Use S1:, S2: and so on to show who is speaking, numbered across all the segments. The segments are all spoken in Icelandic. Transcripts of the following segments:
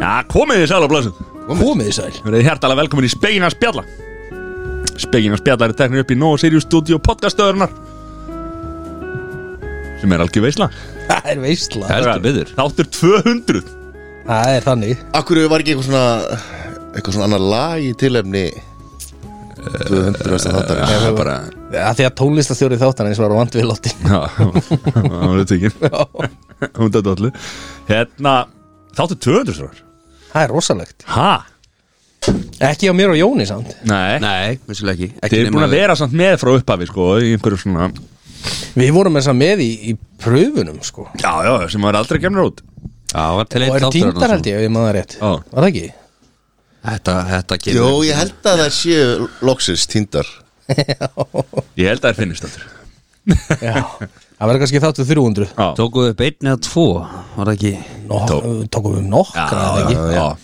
S1: Já, komið þið sæl á blæsum
S2: Komið þið sæl
S1: Við erum hjertalega velkomin í Spegin að spjalla Spegin að spjalla er teknir upp í Nova Sirius Studio podcastöðurnar sem er algjör veisla
S2: Það er veistla
S3: Heldur betur.
S1: Þáttur 200
S2: Það er þannig
S4: Akkur var ekki eitthvað svona eitthvað svona annar lag í tilefni 200. þáttar
S3: Já, það er bara
S2: Af Því að tónlistastjóri þáttan eins var vant við Lotti
S1: Já, það var tekin
S2: Það
S1: Hún dættu allir Hérna, þáttur 200 svo
S2: er rosalegt
S1: Ha?
S2: Ekki á mér og Jóni samt
S1: Nei,
S3: Nei, vissulega ekki, ekki
S1: Þið er
S3: nema-
S1: búin að vera samt með frá upphafi sko í einhverju svona
S2: Við vorum þess að með í, í pröfunum sko
S1: Já, já, sem maður aldrei kemur út
S3: Já, það var
S2: Og
S3: til einn
S2: eru
S3: þáttur
S2: týndar
S3: þarna,
S2: held ég, ef ég maður rétt
S1: Já.
S2: Var það ekki?
S3: sko. Þetta, þetta kemur
S4: Jó, ég held að það séu loksins týndar
S1: Ég held að það finnist aftur
S2: Já Það verður kannski þáttu 300
S1: Já,
S3: Tókuðu upp einn eða tvo, var það ekki
S2: Nó, Tókum við um nokkra eða
S1: já,
S2: ekki?
S1: já, já.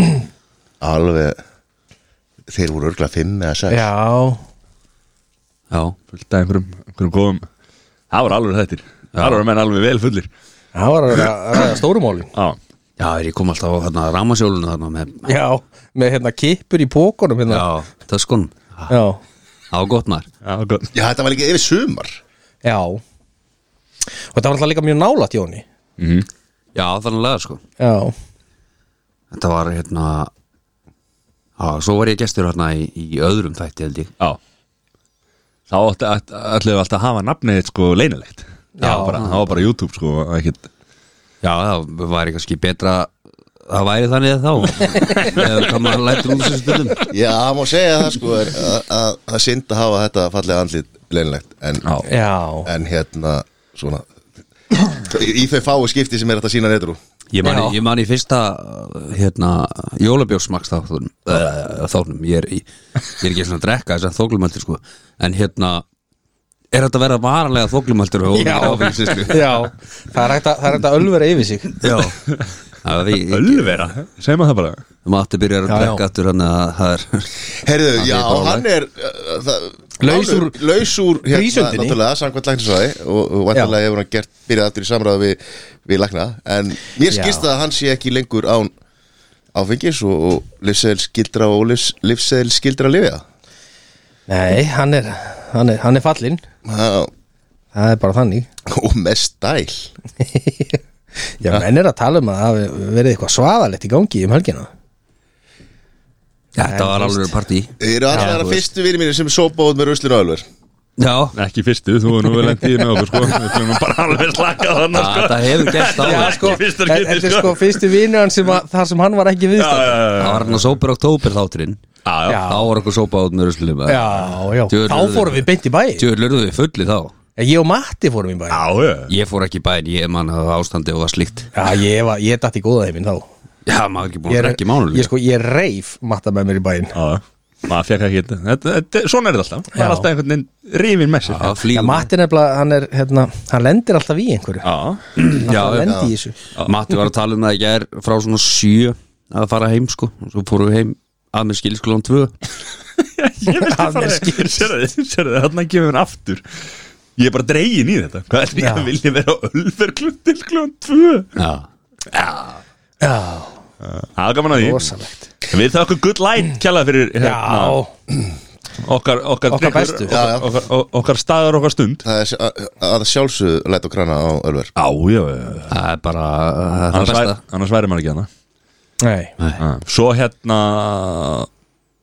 S3: Já,
S4: alveg þeir voru örgla 5 eða 6
S2: Já
S3: já,
S1: fullt af einhverjum, einhverjum góðum það voru alveg þettir, það voru menn alveg vel fullir
S2: Það var að vera- að ræða stórumálin
S1: já,
S3: já, er ég kom alltaf á þarna rámasjóluna þarna með
S2: Já, með hérna kippur í pókunum hérna.
S3: Já, töskunum
S2: Já
S3: Á gott maður
S1: já, gott
S4: Já, þetta var líka yfir sumar
S2: Já Og þetta var alltaf líka mjög nálætt Jóni
S1: Mhm.
S3: Já, þannig lega sko
S2: Já
S3: Þetta var hérna Já, svo var ég gestur hérna í, í öðrum þætti held ég
S1: já. þá ætti- ætti- ætlum við alltaf að hafa nafnið þitt, sko leynilegt
S2: Já.
S1: það var bara, það var bara YouTube sko ekkit,
S3: Já, það væri kannski betra Það væri þannig þá Eða hvað maður lætur úr þessu stundum
S4: Já, það má segja það sko er, að, að, að synd að hafa þetta fallega andlit leinlegt en,
S1: Já.
S2: Já
S4: en hérna svona í þau fáu skipti sem er þetta sína neytur
S3: Ég
S2: Já.
S3: man, ég man í fyrsta hérna, jólabjórsmaks þáttunum uh, þáttunum, ég er, í- ég er ekki svona að drekka þess að þóklumöldur sko en hérna, er þetta að vera varanlega þóklumöldur og
S2: Já.
S3: áfengisislu
S2: Já, það er hægt að, það er hægt að ölvera yfir sig
S3: Já, það er því
S1: ölvera, segjum við það bara
S3: maður átti að byrja að
S2: Já, já.
S3: drekka aftur hann að það er
S4: Herðu, já,
S3: er bara
S4: hann er uh, það,
S2: Laus úr-
S4: málur- laus úr hérna,
S2: Prísundinni.
S4: náttúrulega, samkvæmt læknisvæði og, og vantarlega hefur hann gert byrjað aftur í samræðu við, við lækna, en mér
S2: Já.
S4: skilst að hann sé ekki lengur án áfengis og, og livsæðil skildra og livsæðil skildra lifiða
S2: Nei, hann er, hann er, hann er fallin
S4: Ha,
S2: Það er bara þannig
S4: og með stæl
S2: Já, menn er að tala um að það hafi verið eitthvað svaðalegt í gangi um helgina
S3: þetta var
S2: veist.
S3: alveg partí
S4: Þeir eru allar að fyrstu vinir mínir sem sopa út með ruslinu álver
S3: Já,
S1: ekki fyrstu, þú er nú vel endið með okkur sko við ætlum nú bara alveg slakað þannig sko
S3: þetta hefur gerst á
S1: Já, sko. Ekki fyrsta
S2: Þetta
S1: kynni,
S2: er
S1: sko.
S2: sko fyrsti vinur hann sem að, þar sem hann var ekki viðstætt
S3: það var hann að sópur október þátturinn
S1: já, já,
S2: Já.
S3: þá var okkur sópa út með ruslum
S2: Já, já,
S3: Djöfull
S2: þá
S3: eru þau-
S2: fórum við beint í bæ
S3: Tjóður lurðu við fulli þá
S2: Ég og Matti fórum í bæ Já,
S1: já, já.
S3: Ég fór ekki í bæn, ég man að ástandi og það slíkt
S2: ég, var, ég datt í góða heiminn þá
S3: Já, maður er ekki búin
S2: Ég
S3: að
S2: er-
S3: drekka í mánuleg
S2: Ég sko, ég reif Matta með mér í bæinn
S1: Já, já. maður fekk ekki þetta, þetta, þetta svona er þetta alltaf það
S2: Já.
S1: er alltaf einhvern veginn rifin með sér
S3: Já,
S2: Já,
S3: flýgur
S2: Matti nefnilega, hann er, hérna, hann lendir alltaf í einhverju
S1: já,
S2: Já, hann lendir í þessu
S3: Matti var að tala um það ekki er frá svona sjö að fara heim sko og svo fórum við heim að með skilskólan tvö
S1: Ég veist
S2: Að
S1: það
S2: mér
S1: bara Sérðu, sérðu, þarna kemur hann aftur Ég er bara dregin í þetta Hvað er því
S2: Já.
S1: að vilja vera á Ölver klund til klund 2
S3: Já,
S2: Já,
S1: Það er gaman að því
S2: rosalegt
S1: Við það okkur good light kjallað fyrir
S2: Já,
S1: hérna, Okkar, okkar,
S2: Okkar
S1: drykkur,
S2: bestu.
S4: Já, já.
S1: okkar, okkar, okkar, okkar staðar, okkar stund
S4: Það er sj- að, að sjálfsög læt og krana á ölver
S1: Já, já, já
S3: það er bara það er það
S1: Annars, væri,
S3: besta
S1: annars væri maður ekki hana
S2: nei
S1: Ah, Svo hérna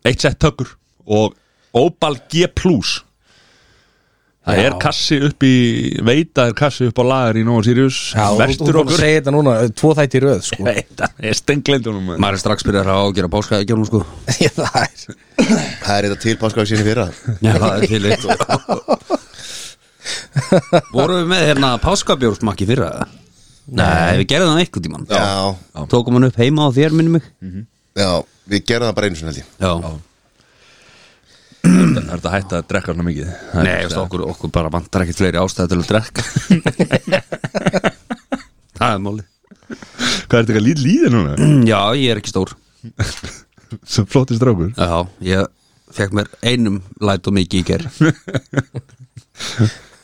S1: Eitt sett tökur Og Opal G Plus Það
S2: Já.
S1: er kassi upp í Veita er kassi upp á lagar í Nóa Sirius
S2: Já, þú- þú
S1: Vestur
S2: búin að
S1: okkur
S2: segja þetta núna, eh, tvo þætti í röð sko.
S1: Þetta er stengleindunum
S3: Maður er strax byrjar að ágjöra páska í gjörnum sko
S2: Ég, það er,
S4: Það er þetta til páskaðu sinni fyrra
S3: Já, það er til eitt Vorum við með hérna páskabjórsmakki fyrra? eða? Nei, við gerðum það einhvern tímann
S4: Já,
S3: Tókum hann upp heima á þér minni mig
S4: já, við gerðum það bara einu sinni held ég
S3: Já,
S1: Það er þetta hægt að drekka svona mikið Það er
S3: nei, veist,
S1: þetta-
S3: okkur, okkur bara vantar ekkert fleiri ástæði til að drekka Það er málið
S1: Hvað er þetta eitthvað lít líðið núna?
S3: Já, ég er ekki stór
S1: sem flottist drákur
S3: Já, ég fekk mér einum læt og mikið í ger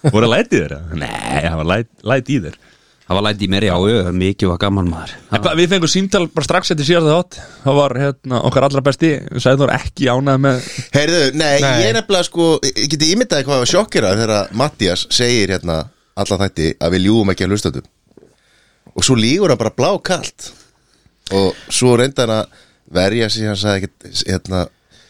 S1: voru að læti þér? eða? Nei, það var læt, læt í þér
S3: Það var læt í mér, já, já, mikið var gaman maður
S1: En bara- Við fengum símtal bara strax eftir síðasta þátt Það var hérna, okkar allra besti Sæður ekki ánað með
S4: Heyrðu, nei,
S2: Nei.
S4: ég er nefnilega sko Ég geti ímyndaði hvað var sjokkera þegar að Mattias segir hérna alla þætti að við ljúum ekki að hlustandum og svo lígur hann bara blá kalt og svo reyndi hann að verja sig hann sagði ekkert hérna,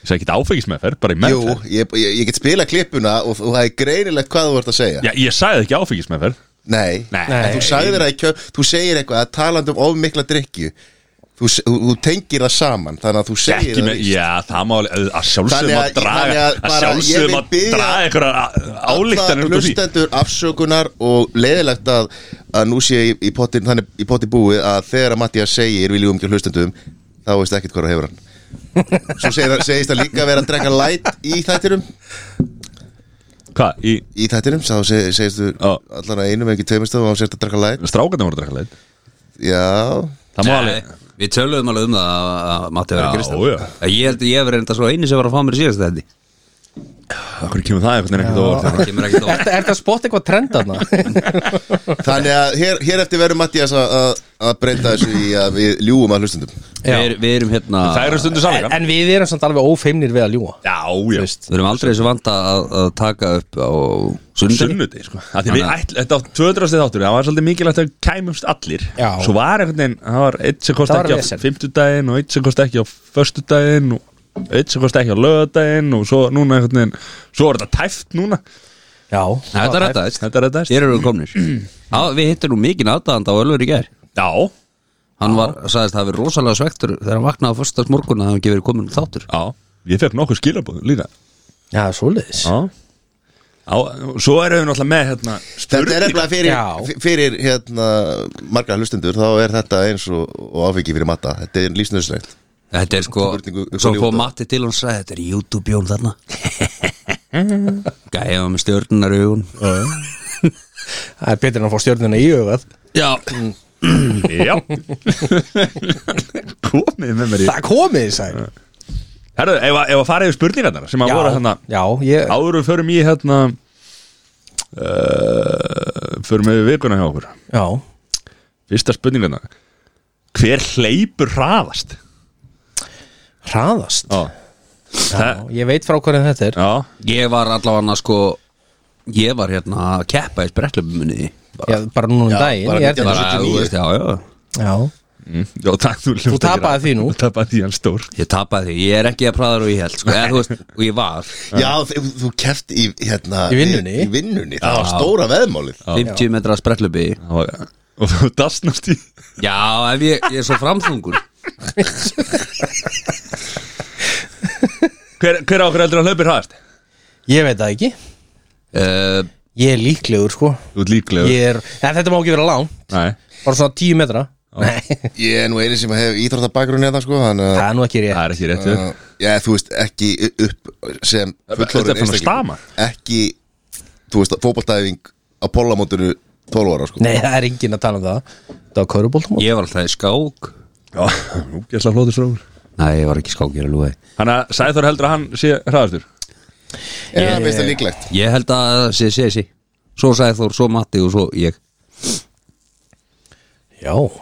S1: Ég sagði ekki áfengismeðferð, bara í
S4: jú,
S1: meðferð
S4: ég, ég, ég get spila klippuna og, og það er greinilegt hvað þú vart að segja
S1: Já, ég sagði ekki áfengismeðferð
S4: Nei,
S1: Nei.
S4: En þú sagðir að kjö, þú segir eitthvað að talandi um ofmikla drikju þú, se- þú, þú tengir það saman þannig að þú segir
S1: Ekki
S4: það
S1: með,
S4: víst.
S1: já, það má alveg- að sjálfsögum
S4: Þannig
S1: að
S4: að- þannig
S1: draga
S4: að
S1: að
S4: bara ég
S1: sjálfsögum
S4: vil
S1: að
S4: biðja
S1: draga einhverjar
S4: Alla
S1: álíktanir út úr því
S4: hlustendur afsökunar og leðilegt að, að nú sé í, í, potin, þannig, í potti búið að þegar að Mattias segir við ljúum ekki að hlustendum þá veist ekkert hvað það hefur hann svo segir, það- segist það líka að vera að drekka light í þættinum
S1: Hvað, í
S4: í þættinum, þá seg, segist þú
S1: Já.
S4: allan að einum en ekki tveimist þá segist að drekka light
S1: strákarnir voru að drakka leit
S4: já,
S1: Það má alveg
S3: Nei, Við töluðum alveg um það að- að Matti verið
S1: Já,
S3: kristan
S1: já.
S3: Ég held að ég hef reynda svo eini sem var að fá mér í síðast þetta
S1: Akkur kemur það einhvern veginn ekkert á óvart
S3: Það kemur ekkert á
S2: Er þetta að spotta eitthvað trend þarna?
S4: þannig að hér, hér eftir verður Mattias að, að, að breyta þessu í að við ljúum að hlustendum
S2: Já.
S3: Við, við erum hérna
S1: Það eru stundu
S2: en,
S1: sannleika
S2: en við erum samt alveg ófeimnir við að ljúa
S1: Já, já
S3: Við erum aldrei þessu vanda að, að taka upp á sunnudegi
S1: Sunnudegi, sko Af því við ætl- Þetta á 200. þáttur Það var svolítið mikilvægt að við kæmumst allir
S2: Já.
S1: Svo var einhvern veginn Það var eitt sem kosti
S2: Það var
S1: ekki á
S2: vesen.
S1: 50 daginn Og eitt sem kosti ekki á förstu daginn Og eitt sem kosti ekki á lögadaginn Og svo núna einhvern veginn Svo er þetta tæft núna
S2: Já
S3: Þetta er þetta
S1: Þetta er þetta
S3: Þér eru komnir Já, við hittum nú mikið aðdæðanda á Ölver í gær
S1: Já,
S3: Hann var, sagðist, það hafi verið rosalega svektur þegar hann vaknaði á fyrstast morgun að hann gefur komin þáttur
S1: já Ég fekk nokkuð skilabóð líka
S2: Já, svoleiðis
S1: Já Já, og svo erum við náttúrulega með hérna
S4: Þetta er
S1: spurningar.
S4: nefnilega fyrir,
S2: Já.
S4: fyrir hérna, margra hlustendur þá er þetta eins og, og áfengi fyrir matta þetta er lífsnöðslegt
S3: Þetta er sko,
S4: Spurningu upp á
S3: svo fór
S4: YouTube.
S3: Matti til og hann sagði Þetta er YouTube Jón þarna Gæja var með stjörnunar augun
S2: Það er betur en að fá stjórnuna í augað
S3: Já,
S1: Já Komið með mér í
S2: Það er komið, sagði
S1: Herðu, ef að- ef að fara yfir spurningarnar sem að voru hérna
S2: já, ég
S1: áður við förum í hérna uh, förum við vikuna hjá okkur
S2: Já,
S1: Fyrsta spurningarna Hver hleypur hraðast?
S2: hraðast
S1: Já
S2: Já, ég veit frá hvernig þetta er
S1: Já
S3: ég var allavega sko Ég var hérna að keppa í sprettlöfum minni
S2: Já, bara núna um
S4: Já,
S2: daginn
S4: bara
S2: ég er
S3: Bara, hérna.
S2: þetta.
S3: þú veist, já, já
S2: Já,
S1: Mm. Já, takk, þú, hljópst ekki
S2: tapaði
S1: hraðar.
S2: því nú.
S1: Þú tapaði því hann stór
S3: Ég tapaði því, ég er ekki að praða og ég held sko, eða, þú veist, Og ég var
S4: Já, þú, þú keft í, hérna,
S2: Í vinnunni.
S4: í, í vinnunni. Það var stóra veðmálið
S3: 50 metra sprettlöfi
S1: Já, já. Og þú dastnast í
S3: Já, ef ég, ég er svo framþungur
S1: Hver, hver á okkur heldur að hlaupir hraðast?
S2: ég veit það ekki
S3: uh,
S2: Ég er líklegur, sko
S1: Þú ert líklega
S2: Ég er, en þetta má ekki vera langt
S1: Nei
S2: Bara svona 10 metra Nei,
S4: Ég er nú eini sem hef íþróttabakrun hérna sko hann,
S2: það er nú ekki
S1: Það
S2: rétt
S1: er ekki rétt
S4: uh, Já, þú veist, ekki upp sem
S1: Þetta er
S4: fullorinn
S1: fann að stama.
S4: Ekki, þú veist, fótboltæfing á pollamótinu 12 ára sko
S2: Nei, það er enginn að tala um það Það var köruboltum
S3: Ég var alltaf í skák
S1: Já, nú gæsla flótið strókur
S3: Nei, ég var ekki í skák, ég er að lúi
S1: Þannig að Sæþór heldur að hann sé hraðastur
S4: Já, mér finnst það líklegt
S3: Ég held að það sé, sé, sé Svo sagði Þór, svo Matti og svo ég
S2: Já,
S1: Ok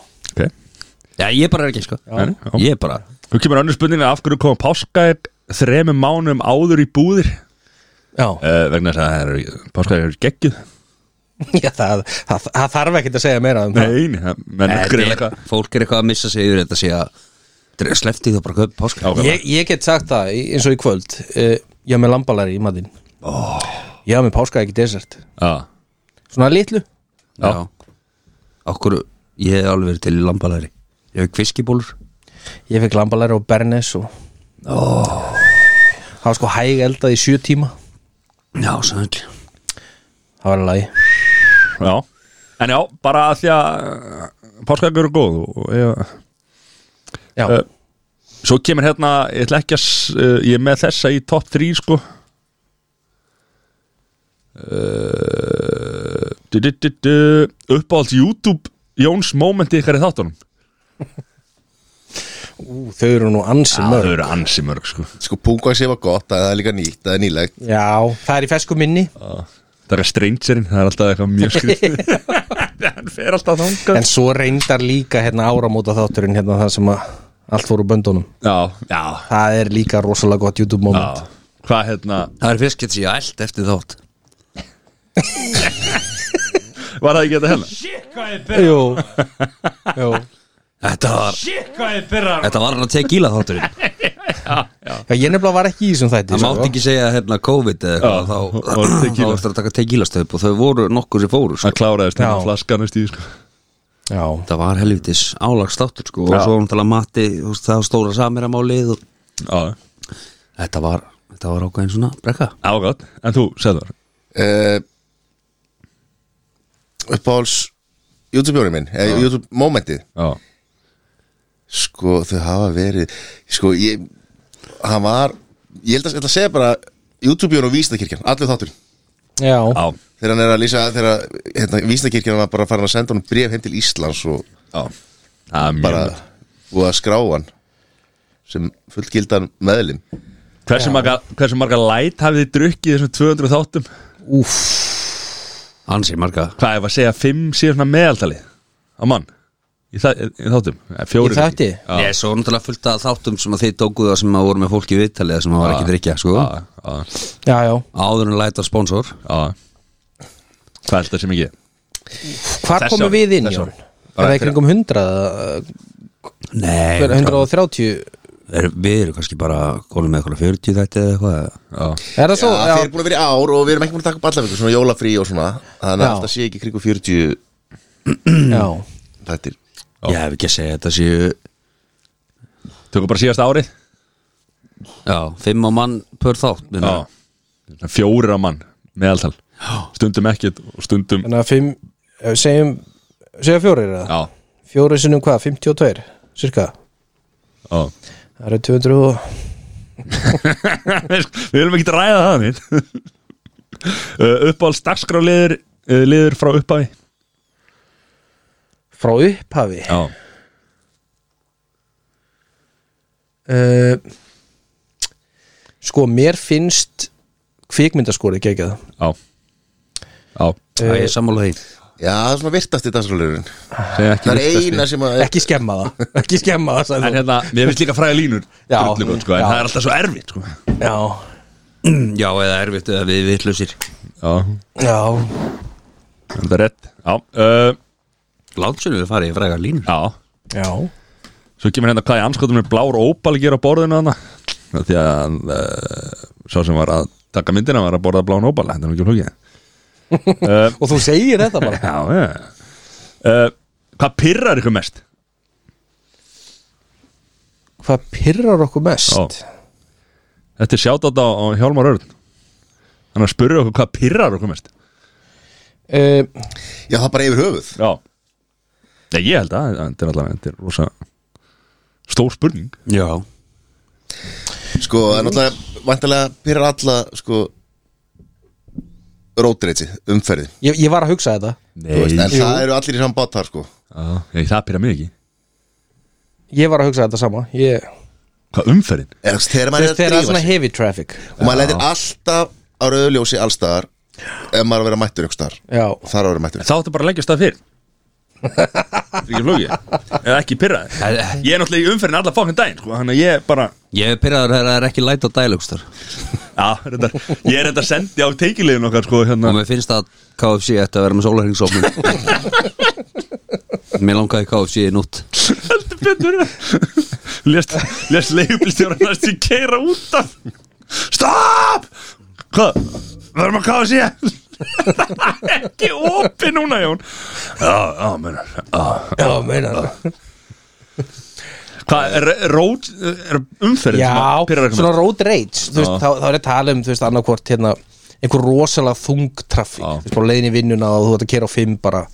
S3: Já, ég bara er ekki, sko
S1: Já. Já.
S3: Ég bara
S1: Þú kemur önnur spurninga af hverju koma páskaegg þremur mánum áður í búðir
S2: já,
S1: uh, vegna þess að það eru páskaegg eru geggjuð
S2: já það, það, það þarf ekkert að segja meira um það
S1: Nei, nei, það menn okkur er
S3: Þetta
S1: eitthvað
S3: er- Fólk er eitthvað að missa sig yfir þetta sé að Slefti þá bara köp páska
S1: Já.
S2: ég, ég get sagt það í- eins og í kvöld uh, Ég var með lambalari í matinn oh. Ég var með páska ekki desert
S1: Já,
S2: Svona litlu
S1: Já.
S3: Já Okkur, ég hef alveg verið til í lambalæri Ég hef kviskibólur
S2: Ég fekk lambalari og bernes og oh. Það var sko hæg eldað í sjö tíma
S3: Já, sæll
S2: Það var alveg
S1: já En já, bara að því að páskaegg eru góð og ég,
S2: Já,
S1: Eh, Svo kemur hérna, ég ætla ekki að s- uh, ég er með þessa í topp 3 sko uh, du, du, du, du, uppáhalds YouTube Jóns momenti ykkar í þáttunum
S2: Ú, þau eru nú ansi
S1: Já, þau
S2: mörg
S1: eru ansi mörg sko
S4: Sko pungvaxi var gott, það er líka nýtt, það er nýlegt
S2: Já, það er í fesku minni
S1: Það er strangerinn, það er alltaf eitthvað mjög skrið Hann fer alltaf þangað
S2: En svo reyndar líka hérna áramóta þátturinn hérna það sem að allt fór úr böndunum
S1: Já, já,
S2: Það er líka rosalega gott YouTube moment
S1: já Hvað hérna,
S3: Það er fiskett sér allt eftir þátt
S1: var það ekki þetta hérna?
S2: Jú, jú
S3: Þetta var Þetta var hann að tequila þátturinn
S2: Já, Ég nefnilega var ekki í þessum þætti
S3: Það
S2: sko.
S3: mátti ekki segja hérna COVID eða
S1: Já,
S3: eitthvað
S1: og- og
S3: Þá
S1: tequila.
S3: þá eftir að taka tequila stöp og þau voru nokkur sem fóru sko.
S1: Það kláraðist hérna
S2: Já.
S1: flaskan veist í sko
S2: Já,
S3: Það var helvitis álagstáttur sko
S1: Já.
S3: og svo hann tala mati þú veist, það var stóra samiramálið og
S1: Já,
S3: þetta var, þetta var ákveðin svona brekka
S1: ágætt, en þú, segðu það
S4: uh, Uppáhals YouTube-bjórið minn, eða YouTube-momentið
S1: Já,
S4: Sko, þau hafa verið Sko, ég Hann var, ég held að, ég ætla að segja bara YouTube-bjórið og Vísnakirkjan, allir þáttur
S2: já,
S1: já,
S4: Þegar hann er að lýsa, þegar hérna, Vísnakirkjan var bara farin að senda hann bref heim til Íslands og
S1: já Það er mjög
S4: bara búið að skrá hann sem fullgildan meðlim
S1: Hversu marga, hversu marga light hafið þið drukkið í þessum 200 þáttum?
S2: úff
S3: Hansi marga
S1: Hvað, ef að segja 5 síðan svona meðaltali á mann? Í, það, í þáttum? Eh, Fjórir
S2: Í þætti?
S1: kannski.
S3: Ég er svo náttúrulega fullt að þáttum sem að þið tókuðu að sem að voru með fólki í viðtalið sem að var ekki drikja sko
S1: Já, já,
S2: Já, já
S3: Áður en læta sponsor
S1: já Hvað er þetta sem ekki?
S2: Hvar
S1: Þessi
S2: komum
S1: ári,
S2: við inn,
S1: þessi
S2: Jón?
S1: ári.
S2: Er það í kringum 100
S3: Nei,
S2: hver- 130
S3: er, við erum kannski bara konum með eitthvað 40 þetta eða eitthvað
S1: Já,
S2: Er það
S4: Já,
S2: svo?
S4: þeir eru búin að vera í ár og við erum ekki búin að taka upp alla vikur svona jólafrí og svona þannig
S2: Já.
S4: að alltaf sé ekki kringu 40
S2: já,
S4: þættir
S3: Ég hef ekki að segja þetta séu
S1: tökum bara síðast árið
S3: Já, fimm á mann pör þátt minna.
S1: Já, Svona fjórir á mann meðaltal, stundum ekkert og stundum,
S2: þannig að fimm eh, segjum, segja fjórir er það?
S1: já,
S2: Fjórir sinnum hvað, 52 cirka?
S1: já
S2: Það eru 200 og
S1: Við viljum ekki ræða það minn Uppáhalds dagskráliður liður frá upphafi
S2: frá upphafi
S1: Já,
S2: uh, Sko, mér finnst kvikmyndaskorið geggjað
S1: já Já,
S3: Já, ég er sammála því
S4: Já, það er svona virtast í dagsrálurinn
S1: segja ekki
S4: Það er
S1: vitleysu.
S4: eina sem að
S2: Ekki skemma það, ekki skemma það
S1: En
S2: sagði þú.
S1: hérna, mér finnst líka fræða línur
S2: Já.
S1: drullu gott, sko, En
S2: Já.
S1: það er alltaf svo erfitt sko.
S2: Já,
S3: Já, eða erfitt eða við vitlausir
S1: Já,
S2: já,
S1: þetta er rétt Já, uh,
S3: Látsunum við farið í frægar línur
S1: já
S2: já
S1: Svo kemur hérna hvað í anskotum er blár óbal gera á borðinu þarna Af Því að uh, sá sem var að taka myndina var að borða blán óbal Þetta er nú ekki flókið
S2: Og þú segir þetta bara
S1: Já, já uh, Hvað pirrar ykkur mest?
S2: Hvað pyrrar okkur mest?
S1: Já. Þetta er sjátt á Hjálmar Örn Þannig að spurra okkur hvað pirrar okkur mest
S2: Uh,
S4: Já, það er bara yfir höfuð
S1: Já Nei, ég held að þetta er allavega Þetta er rosa stór spurning
S3: Já,
S4: Sko, það
S2: Mhm.
S4: er náttúrulega vantilega pyrra alla sko rótreitsi, umferði
S2: ég, ég var að hugsa þetta
S4: Þú veist, En
S1: Já,
S4: það eru allir í saman bát þar sko
S1: ég, það pirrar mig ekki
S2: Ég var að hugsa þetta sama Ég,
S1: Hvað umferðin?
S4: Eða, þú veist, Þegar maður
S2: Þegar
S4: er að
S2: það er
S4: drífa
S2: svona
S4: sig
S2: heavy traffic
S4: og maður lætir alltaf á rauðljósi allstaðar ef maður er að vera mættur ykkur staðar
S2: Já,
S4: Þar á að vera mættur
S1: Þá ætti bara að leggja stað fyrir Það er ekki flóki Eða ekki pirra
S3: Eh,
S1: Ég er náttúrulega í umferðin alla fókn daginn sko, Þannig að ég bara
S3: ég er pyrraður þegar það er ekki læt á dælugstar
S1: Já, reyndar, ég er þetta sendi á teikilegin okkar sko, hérna.
S3: og mér finnst að KFC ætti að vera með sólarhengsofnum Mér langaði KFC í nútt
S1: heldur betur lest, lest leigubilstjóra næst í keira út af stopp hvað, verðum að kafa sé ekki opi núna Jón já, já, meina já.
S2: já, meinar það
S1: hvað, er, er, rót- er umferðin sem
S2: Já,
S1: að pirrar ykkur
S2: svona
S1: mest?
S2: road rage þú veist, þá, þá er ég að tala um, þú veist, annarkvort hérna, einhver rosalega þung traffík
S1: Já.
S2: þú veist, bara leiðin í vinnuna og þú ert að kera á fimm bara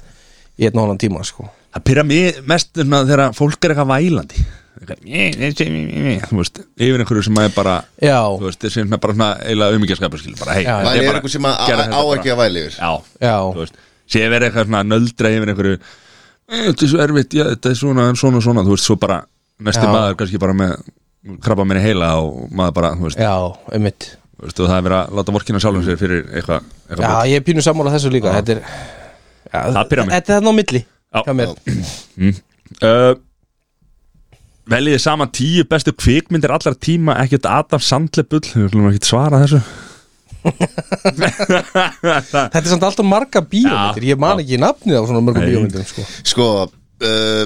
S2: í einn og annan tíma, sko
S1: það pyrra mig mest svona, þegar fólk er eitthvað vælandi Eitthvað, mjö, mjö, mjö, mjö, mjö, þú veist, yfir einhverju sem er bara
S2: Já,
S1: þú veist, þessi er bara svona eiginlega auðmyggjaskapur skil, bara hei,
S2: Já,
S1: ég
S2: já.
S4: Væli er
S1: bara-
S4: ykkur sem að-
S1: gerði
S4: á
S1: þetta bara.
S4: ekki að væli yfir
S1: já,
S2: Já.
S1: þú veist sé verið eitthvað svona nöldra yfir einhverju "Eh, þetta er svo erfitt, já, þetta er svona en svona, svona, þú veist, svo bara mesti
S2: Já.
S1: maður kannski bara með krabba minni heila og maður bara, þú veist,
S2: Já, einmitt
S1: þú veist og það er verið að láta vorkina sjálfum sér fyrir eitthvað eitthva
S2: Já, ég er pínu sammála þessu líka Þetta er já,
S1: Það pirrar mig.
S2: Þetta er þannig á milli
S1: Já.
S2: hjá mér.
S1: uh, Veljiði saman tíu bestu kvikmyndir allar tíma ekkert Adam Sandlebull við viljum ekkert svara þessu
S2: Þetta er samt alltaf marga bíómyndir Ég man ekki nafnið á svona mörgum
S1: Nei.
S2: bíómyndum sko.
S4: Sko, uh,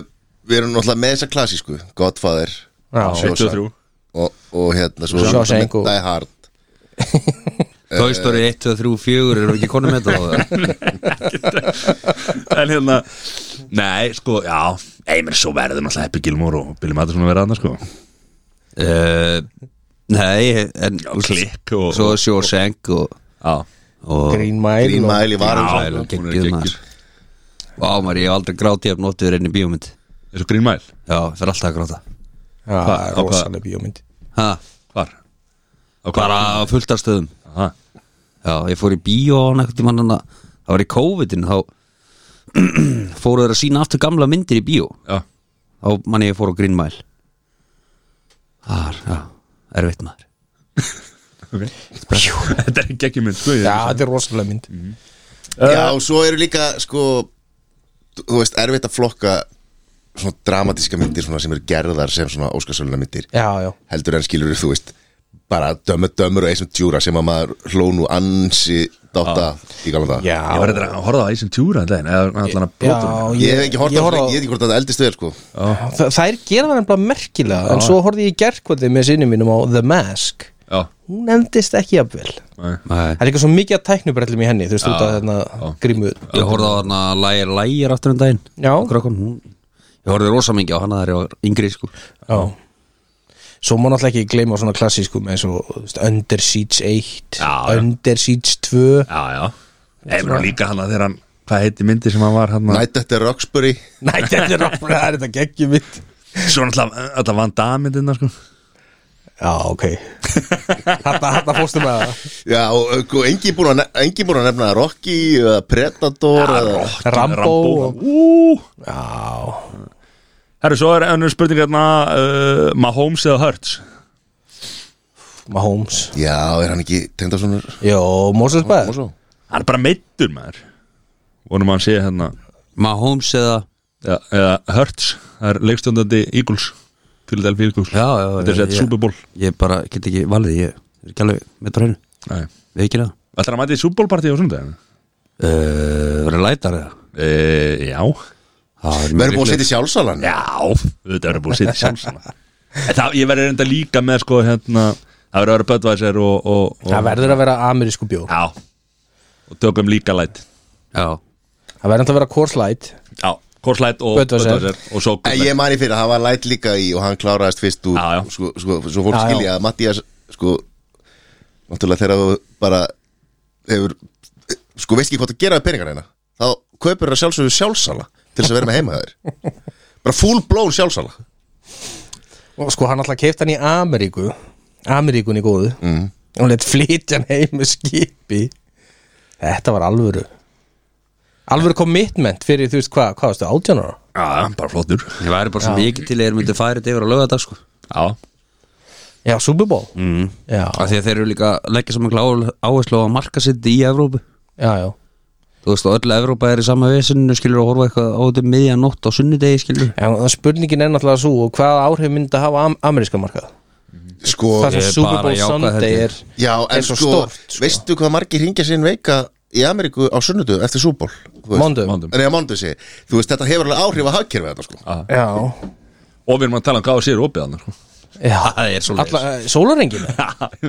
S4: við erum náttúrulega með þessa klassísku Godfather
S2: Já.
S4: Shawshank
S1: 73
S4: og, og hérna svo
S2: Shawshank og-
S4: Die Hard
S3: Toy Story 1, 2, 3, 4 erum við ekki konum með þetta
S1: En hérna Nei, sko, já Einmitt svo verður náttúrulega Happy Gilmore og Billy Madison að vera annars, sko
S3: uh, Nei, en
S1: Klikk og
S3: Svo Shawshank og,
S1: Já,
S3: og
S2: Green Mile
S4: Green
S2: og-
S4: Mile í varum
S1: hún er
S3: geggjuð
S1: geggjuð.
S3: maður Vá maður, ég hef aldrei grátið ef nóttið er inn í bíómynd
S1: eins og Green Mile
S3: Já, það er alltaf að gráta
S2: Já,
S1: Hvað- á hvað-
S2: rosaleg bíómynd
S3: ha,
S1: Hvar? Á hvað?
S3: Bara á fullt af stöðum
S1: Aha.
S3: Já, ég fór í bíó á nekkur tímann hana- Það var í COVID-in þá fóru þeir að sína aftur gamla myndir í bíó
S1: Já,
S3: Þá manni ég fór á Green Mile Þar, já, erfitt maður
S1: ok Þetta er ekki mynd, sko ég-
S2: Já, þetta er rosalega mynd
S4: Já, og svo eru líka, sko Þú veist, erfitt að flokka Svona dramatíska myndir svona sem eru gerðar sem svona óskarsöluna myndir
S2: Já, já
S4: Heldur en skilur þú veist Bara dömur dömur og eisum tjúra sem að maður hló nú ansi dotta í galanda
S2: Já,
S1: Ég var eitthvað að horfa á Æsum Tjúra en daginn eða allan að
S2: já
S1: brotum
S4: Ég hef ekki hort á
S2: horfði
S4: fleik, ég hef ekki hort að það eldist vel, sko
S2: Þa- Þær gera það nefnilega merkilega En svo horfði ég gerkvöldi með sinni mínum á The Mask
S1: Já,
S2: Hún endist ekki jafnvel Það
S1: nei
S3: Nei.
S2: er eitthvað svo mikið að tæknubrellum í henni Þú veist, út af
S1: já.
S2: þarna grímu
S3: Ég horfði á hana lægir lægir aftur um daginn
S2: Já.
S3: Krakkan, hún, Ég horfði rosa mingi á hana þegar ég var yngri sko.
S2: Já Svo má náttúrulega ekki gleyma svona klassískum eins og þú veist, Under Siege 1
S1: Já, já.
S2: Under Siege 2
S1: Já, já Ég var líka hann að þegar hann Hvað heiti myndi sem hann var hann að
S4: Night at the Roxbury
S2: Nei, þetta er ráfnir, það er þetta geggjum mitt
S1: Svo náttúrulega Þetta vann dammyndina sko
S2: Já, ok Þetta, þetta fórstu með það
S4: Já, og og enginn búinn að nef- enginn búinn að nefna Rocky eða Predator eða
S2: Rambo, og,
S1: Ú
S2: Já,
S1: Herru, svo er önnur spurning hérna uh, Mahomes eða Hurts
S2: Mahomes
S4: Já, er hann ekki tengdarsonur?
S2: Jó, Moses Bæð
S4: Mosó?
S1: Hann er bara meittur maður Vonum að hann sé hérna
S3: Mahomes eða
S1: Já, eða Hurts Það er leikstjóndandi Eagles Philadelphia Eagles
S3: já, já,
S1: Þetta er
S3: já,
S1: sett
S3: já.
S1: Super Bowl
S3: Ég bara get ekki valið Ég er ekki alveg með bara hennu
S1: Nei
S3: Við ekki það
S1: Það er að mæta í Super Bowl partíu á sundaginu
S3: Uh, verður lætar eða
S1: e, Já
S3: Það er
S4: Verður
S3: mjög
S4: búin að
S3: líklegt.
S4: setja í sjálfsalan?
S1: Já Þetta verður búið að setja sjálfsana En það, ég verður enda líka með sko hérna Það verður að vera Budweiser og, og, og
S2: Það verður að vera amerísku bjór
S1: Já Og tökum líka læt
S3: Já,
S2: Það verður alltaf að vera Coors Light
S1: Já Korslæt og
S2: Budweiser.
S1: Og svo
S3: Eh,
S4: En ég mani fyrir, hann var læt líka í og hann kláraðist fyrst úr
S1: Já, já.
S4: Sko, sko, svo fólk
S2: Já, já.
S4: skilja að Mattias sko, náttúrulega þegar þú bara hefur, sko veist ekki hvað það gera við peningar hérna, þá kaupir það sjálfsögur sjálfsala til þess að vera með heima þér bara full blown sjálfsala
S2: Og sko, hann alltaf keipt hann í Ameríku Ameríkun í góðu mm. Og létt flytja hann heim með skipi Þetta var alvöru Alvöru commitment fyrir þú veist hvað Hvað varstu, 18 ára?
S1: Já, bara flottur
S3: ég væri bara svo mikið til Ég myndi færi þetta yfir að löga þetta sko.
S1: Já,
S2: Já, Super Bowl mm. Já,
S3: Af því að þeir eru líka að leggja saman áherslu á að marka sitt í Evrópu
S2: já, já
S3: Þú veist, og öll Evrópa er í sama vesinu Skilur að horfa eitthvað á þetta um miðja nótt á sunnudegi Skilur
S2: En það spurningin er náttúrulega svo og hvaða áhrif myndi að hafa am ameríska markað?
S4: sko,
S2: Það
S3: Ég
S2: sem
S3: er
S2: Super
S3: bara
S2: Bowl
S3: jákvæð,
S2: Sunday
S3: held ég.
S2: er
S4: já,
S2: er
S4: en
S2: svo
S4: sko,
S2: stórt, sko.
S4: veistu hvað margir hringja sín veika í Ameríku á sunnudu eftir súból
S2: Mondum
S1: mándum
S4: en ég mándu sig, þú veist þetta hefur alveg áhrif að hagkerfi þetta sko
S2: Já,
S1: Og við erum að tala um hvað sér opið hann sko.
S2: já
S3: Það er svo
S2: Alla, eh, Sólarengin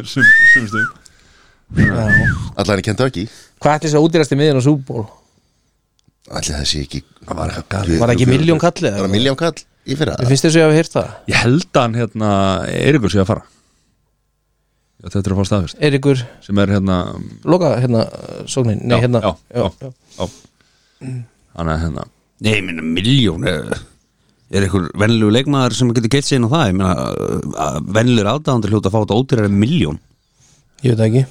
S1: Sum- sum stund.
S4: allan í Kentucky
S2: Hvað ætti þess að útýrast í miðjun á Super Bowl?
S4: Allir það sé ekki Það var eitthvað
S2: Var það ekki miljón kallið?
S4: Það var miljón kall í fyrra
S2: Mér finnst þess að ég hafi heyrt það
S1: Ég held að hann hérna Eiríkur sé að fara Já, þetta er að fá staðfyrst
S2: Erikur,
S1: Sem er hérna
S2: loka hérna uh, sóknin Nei,
S1: já,
S2: hérna
S1: Já, já, já Þannig að hérna
S3: Nei, ég minna miljón eh, Er einhver venlegu leikmaður sem getur gett sér inn á það Ég minna, venlegur aðdáðandur hljóta að fá þetta ódýrar en miljón
S2: Ég veit það ekki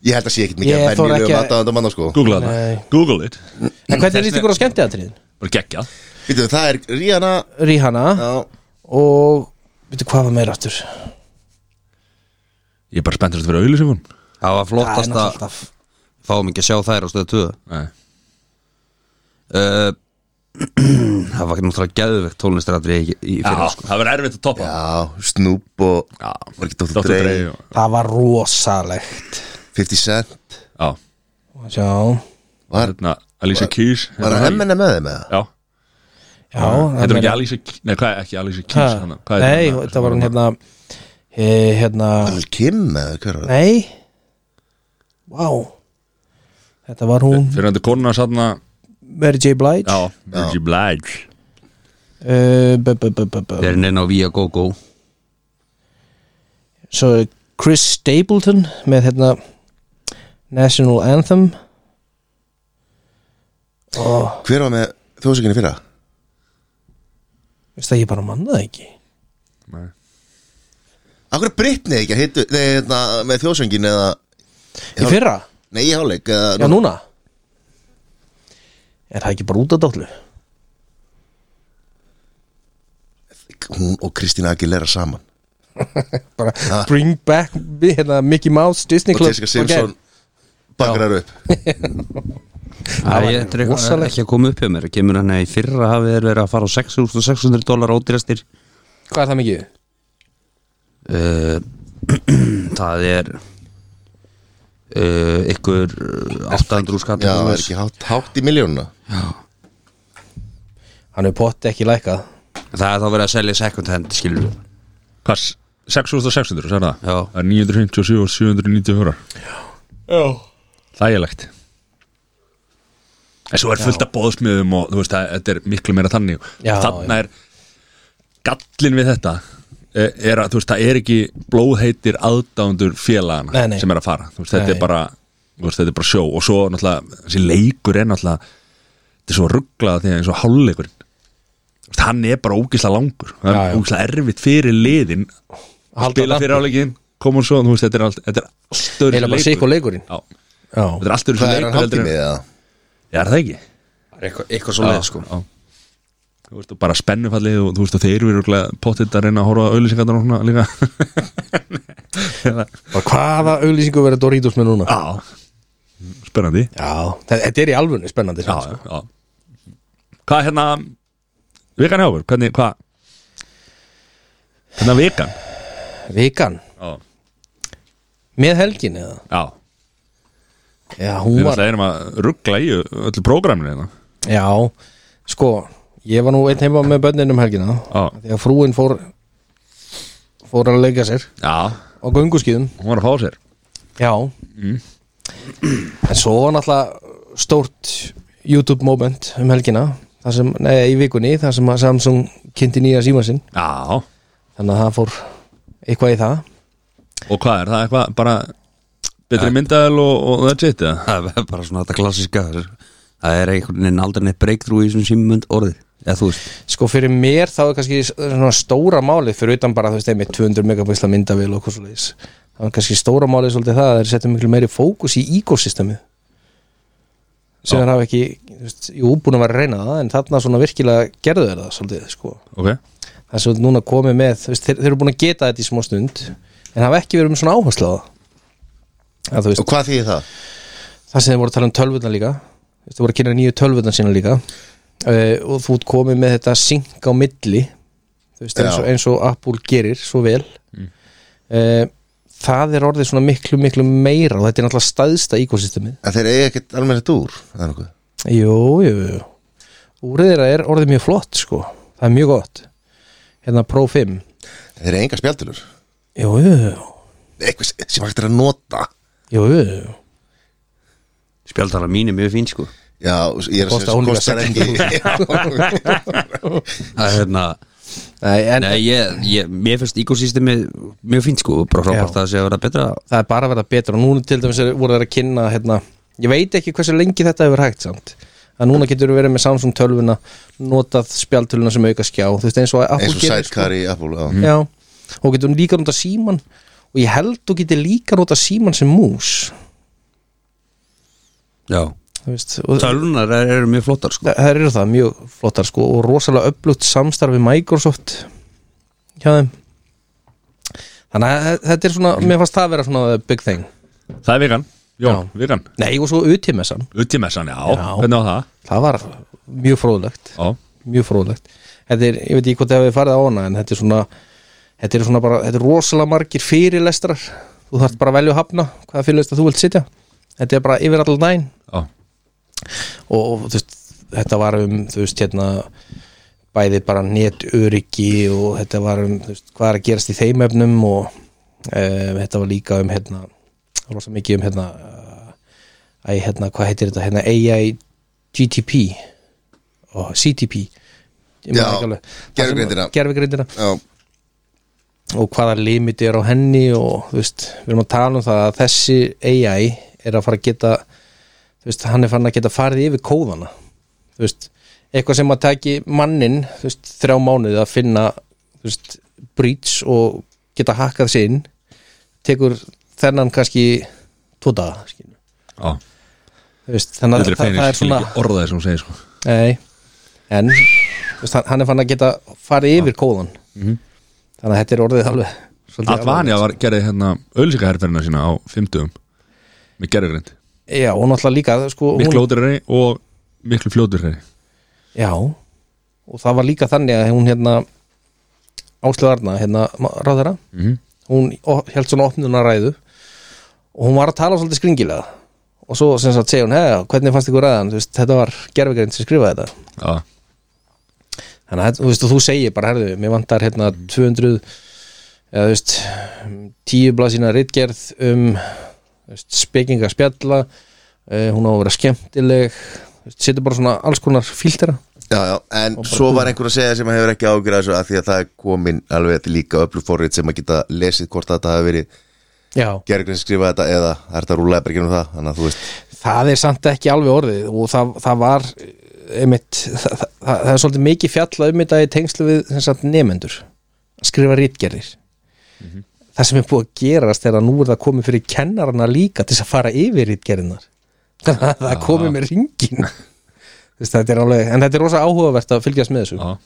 S4: Ég held að sé ekkit
S2: Ég
S4: mikið
S2: þori ekki
S4: Venjulegum
S2: að-
S4: aðdáðanda manna sko
S1: Google
S2: Nei.
S1: þetta Google it
S2: En hvernig líst ykkur á skemmtiðatriðin?
S1: Bara geggjað
S4: Vítum, það er Rihanna
S2: Rihanna
S4: Já,
S2: og veitu hvað var meira aftur
S1: Ég er bara spenntur fyrir auðlýsingun
S3: Það var
S2: Það er
S3: flottast
S2: náttúrulega
S3: að
S2: alltaf
S3: fáum ekki að sjá þær á stöðu 2 uh, Það var ekki náttúrulega geðvegt tónlistratri í, í fyrir sko.
S1: það verður erfitt að toppa
S4: Já, Snoop og
S1: Já.
S4: var ekki Dr.
S1: Dr.
S4: Dre
S1: Dre og-
S2: Það var rosalegt
S4: 50 Cent
S1: Já,
S2: Sjá
S4: Var,
S1: hérna Alicia Keys Hérna,
S4: var að hemmina með þeim eða?
S1: Já,
S2: Já
S1: heitir hún ekki Alicia Keys Nei, hvað er ekki Alicia Keys hana? Hvað heitir
S2: Nei,
S1: hana?
S2: þetta var hún hérna eh, Hérna
S4: Var það Kim eða hver var það?
S2: Nei Vá Þetta var hún
S1: Fyrir hendur konuna satna
S2: Mary J. Blige
S1: Já, Virgin Blige
S2: Eh, bu- bu- bu- bu- bu-
S3: Þeir eru neina á Via Go Go
S2: Svo er Chris Stapleton með hérna National Anthem og
S4: Hver var með þjóðsökinni fyrra?
S2: veist það ég bara manna það ekki
S4: Akkur Britney ekki að hittu nei, hérna, með þjóðsöngin eða
S2: Í fyrra?
S4: Nei, í hálfleik
S2: Já,
S4: eða-
S2: núna Er það ekki bara út af dállu?
S4: Hún og Kristín Aguilera saman
S2: Bara bring back hérna, Mickey Mouse Disney
S4: Og
S2: Club
S4: Jessica Simpson bakrar upp
S3: Það er þetta er eitthvað
S2: rosalegt.
S3: ekki að koma upp hjá mér Kemur hann í fyrra hafið þeir verið að fara á 6600 dólar ódýrastir
S2: Hvað er það mikið?
S3: uh, Það er uh, ykkur uh, 800 skatt
S4: Já, það er ekki hátt, hátt í miljónuna
S2: Hann er potti ekki lækað
S3: Það er þá verið að selja second hand skilur við.
S1: Hvað, 6600, sagði það?
S3: Já.
S1: Það er 957 og 794 Já Þægilegt En svo er fullt af bóðsmiðum og þú veist að þetta er miklu meira þannig
S2: Já,
S1: Þannig er gallin við þetta eh, er að þú veist það er ekki blóðheitir aðdándur félagana
S2: Nei, nei.
S1: sem er að fara þú veist, þetta,
S2: Nei.
S1: er bara, þú veist, þetta er bara sjó og svo náttúrulega, þessi leikur er náttúrulega þetta er svo rugglað því að eins og hálfleikurinn Þú veist, hann er bara ógislega langur það
S2: Já, já.
S1: er ógislega erfitt fyrir liðin að
S2: Halda
S1: spila
S2: lampi.
S1: fyrir áleikin koma svo, þú veist, þetta er allt þetta er allt öðru
S2: Eila bara sikk og leikurinn
S1: Já,
S2: Já
S1: þetta er allt öðru
S4: Hvað er hann hátt í
S1: já,
S4: með það?
S1: er það ekki?
S3: Eitthvað, eitthvað svo leið sko
S1: já. þú veist, og bara spennufallið og þú veist, og þeir eru örugglega pottitt að reyna að horfa auðlýsingarnar og svona líka
S2: Og hvaða auglýsingu verður Doritos með núna?
S1: já spennandi
S2: Já, þe- þetta er í alvörinu spennandi
S1: já,
S2: sko.
S1: já hvað hérna vikan hjá okkur, hvernig, hvað hérna vikan
S2: Vikan,
S1: já,
S2: með helgin eða?
S1: já
S2: Já, hún
S1: við
S2: var
S1: náttúrulega erum að ruggla í öllu prógraminu hérna
S2: Já, sko Ég var nú einn heima með bönnin um helgina
S1: Já.
S2: Því að frúin fór Fór að leika sér
S1: já,
S2: á gunguskýðum
S1: hún var að fá sér
S2: Já
S1: Mm.
S2: En svo var náttúrulega stórt YouTube moment um helgina þar sem, Nei, í vikunni þar sem að Samsung kynnti nýja síma sinn
S1: já,
S2: Þannig að það fór eitthvað í það
S1: og hvað er það eitthvað bara betri myndaðal og, og that's it eða?
S3: Það er bara svona þetta klassiska það er- Það er einhvern veginn aldrei neitt breakthrough í þessum símund orðið Eða þú veist
S2: Sko fyrir mér þá er kannski svona stóra málið fyrir utan bara þú veist einmitt 200 megapixla myndavél og hvað svo leiðis þá er kannski stóra málið svolítið það að þeir setja miklu meiri fókus í ekosystemið sem þeir hafa ekki þú veist, jú búin að vera að reyna það en þarna svona virkilega gerðu þeir það svolítið sko
S1: ok,
S2: það sem núna komið með þú veist, þeir, þeir eru búin að geta þetta í smá stund en hafa ekki verið með svona áherslu á það að þú veist
S4: Og hvað þýðir það?
S2: það sem þið voru að tala um tölvutna líka Þú veist, þið voru að kynna nýju tölvutna sína líka uh, og þú ert komið með þetta synk á milli Þú veist, eins, og,
S4: Já.
S2: eins og Apple gerir svo vel mm. það er orðið svona miklu miklu meira og þetta er náttúrulega staðsta ekosystemið
S4: En þeir eiga ekkert alveg þetta úr Það er nokkuð
S2: jú, jú, jú úrið þeirra er orðið mjög flott sko það er mjög gott hérna Pro 5 jú,
S4: Þeir eiga enga spjaldulur
S2: jú, jú,
S4: Eitthvað sem- sem hægt er að nota
S2: jú, jú, jú.
S3: Spjaldala mín er mjög fín sko
S4: Já, ég er að
S2: Kostar
S4: segja
S2: hún líka
S4: Kostar ekki
S3: Það er hérna
S2: Nei, en
S3: Nei, ég, ég, mér finnst ekosystemið mjög fínt sko, bara frábært
S2: Já.
S3: að sé að vera betra
S2: það er bara að verða betra og núna til dæmis er- voru þeir að kynna hérna, ég veit ekki hversu lengi þetta hefur hægt samt að núna getur við verið með Samsung tölvuna notað spjaltölvuna sem auka skjá þú veist eins og Apple
S4: Eins og
S2: gerir,
S4: sidecar í Apple já.
S2: sko. já, og getur líka notað síman og ég held þú getur líka notað síman sem mús
S3: Já,
S2: þú veist, og
S3: tölvunar er- eru mjög flottar sko
S2: það eru það mjög flottar sko og rosalega upplutt samstarfi Microsoft hjá þeim Þannig að þe- þetta er svona, mér fannst það að vera svona the big thing
S1: Það er vegan, Jón,
S2: Já.
S1: vegan
S2: Nei, og svo utimessan,
S1: Utimessan, já,
S2: Já.
S1: hvernig á það?
S2: það var mjög fróðlegt
S1: Já,
S2: mjög fróðlegt þetta er, ég veit ekki hvort það hefur farið á hana en þetta er svona þetta er svona bara, þetta er rosalega margir fyrirlestrar þú þarft bara að velja að hafna hvaða fyrirlestra þú vilt sitja þetta er bara yfir allan daginn
S1: já,
S2: og, og þú veist, þetta var um þú veist, hérna bæði bara netöryggi og þetta var um, þú veist, hvað er að gerast í þeim efnum og um, þetta var líka um hérna, rosa mikið um hérna æ, hérna, hvað heitir þetta hérna AI GTP og CTP Ég man
S4: Já,
S2: ekki alveg. Það sem-
S4: gervigreindina.
S2: gervigreindina
S4: Já,
S2: og hvaða limiti er á henni og þú veist, við erum að tala um það að þessi AI er að fara að geta þú veist, hann er farin að geta farið yfir kóðana þú veist, eitthvað sem að taki mannin, þú veist, þrjá mánuði að finna, þú veist, breach og geta hakkað sér inn tekur þennan kannski tvo daga, skilur
S1: já
S2: þú veist, þannig að
S1: Þetta er
S2: það,
S1: feinir,
S2: það er svona
S3: orðaði sem hún segir sko
S2: Nei, en þú veist, hann- hann er fann að geta farið yfir kóðan
S1: Mhm.
S2: þannig að þetta er orðið alveg svolítið
S1: Advania var, gerði hérna ölsikaherferðina sína á 50 með gerðugrind
S2: alvarlegt. Já, og náttúrulega líka sko,
S1: miklu
S2: hún,
S1: ódurari og miklu fljóturari
S2: Já, og það var líka þannig að hún hérna Áslöð Arna, hérna ma- ráðherra
S1: Mhm.
S2: hún o- held svona opnunaræðu og hún var að tala svolítið skringilega og svo sem sagt segja hún, hei, hvernig fannst ykkur ræðan, þú veist, þetta var gerfegrind sem skrifaði þetta
S1: Já,
S2: þannig að þú veist, og þú segir bara, herðu, mér vantar hérna 200 eða þú veist, um, 10 blasina ritgerð um þú veist, spekinga spjalla uh, hún á að vera skemmtileg þú veist, setur bara svona alls konar fíltera
S4: já, já, en svo var einhver að segja sem að hefur ekki ágjur að þessu að því að það er komin alveg til líka öflug forrið sem að geta lesið hvort að þetta hafi verið
S2: já,
S4: gerðurinn skrifað þetta eða það er þetta rúlega bara ekki um það þannig að þú veist,
S2: það er samt ekki alveg orðið og það, það var eh, einmitt, það, það, það, það er svolítið mikið fjalla um þetta í tengslu við sem sagt, nefendur að skrifa rítgerðir það sem er búið að gerast er að nú er það komið fyrir kennarana líka til þess að fara yfir rítgerðinar þannig að það er komið með ringin þetta er alveg, en þetta er rosa áhugavert að fylgjast með þessu,
S1: já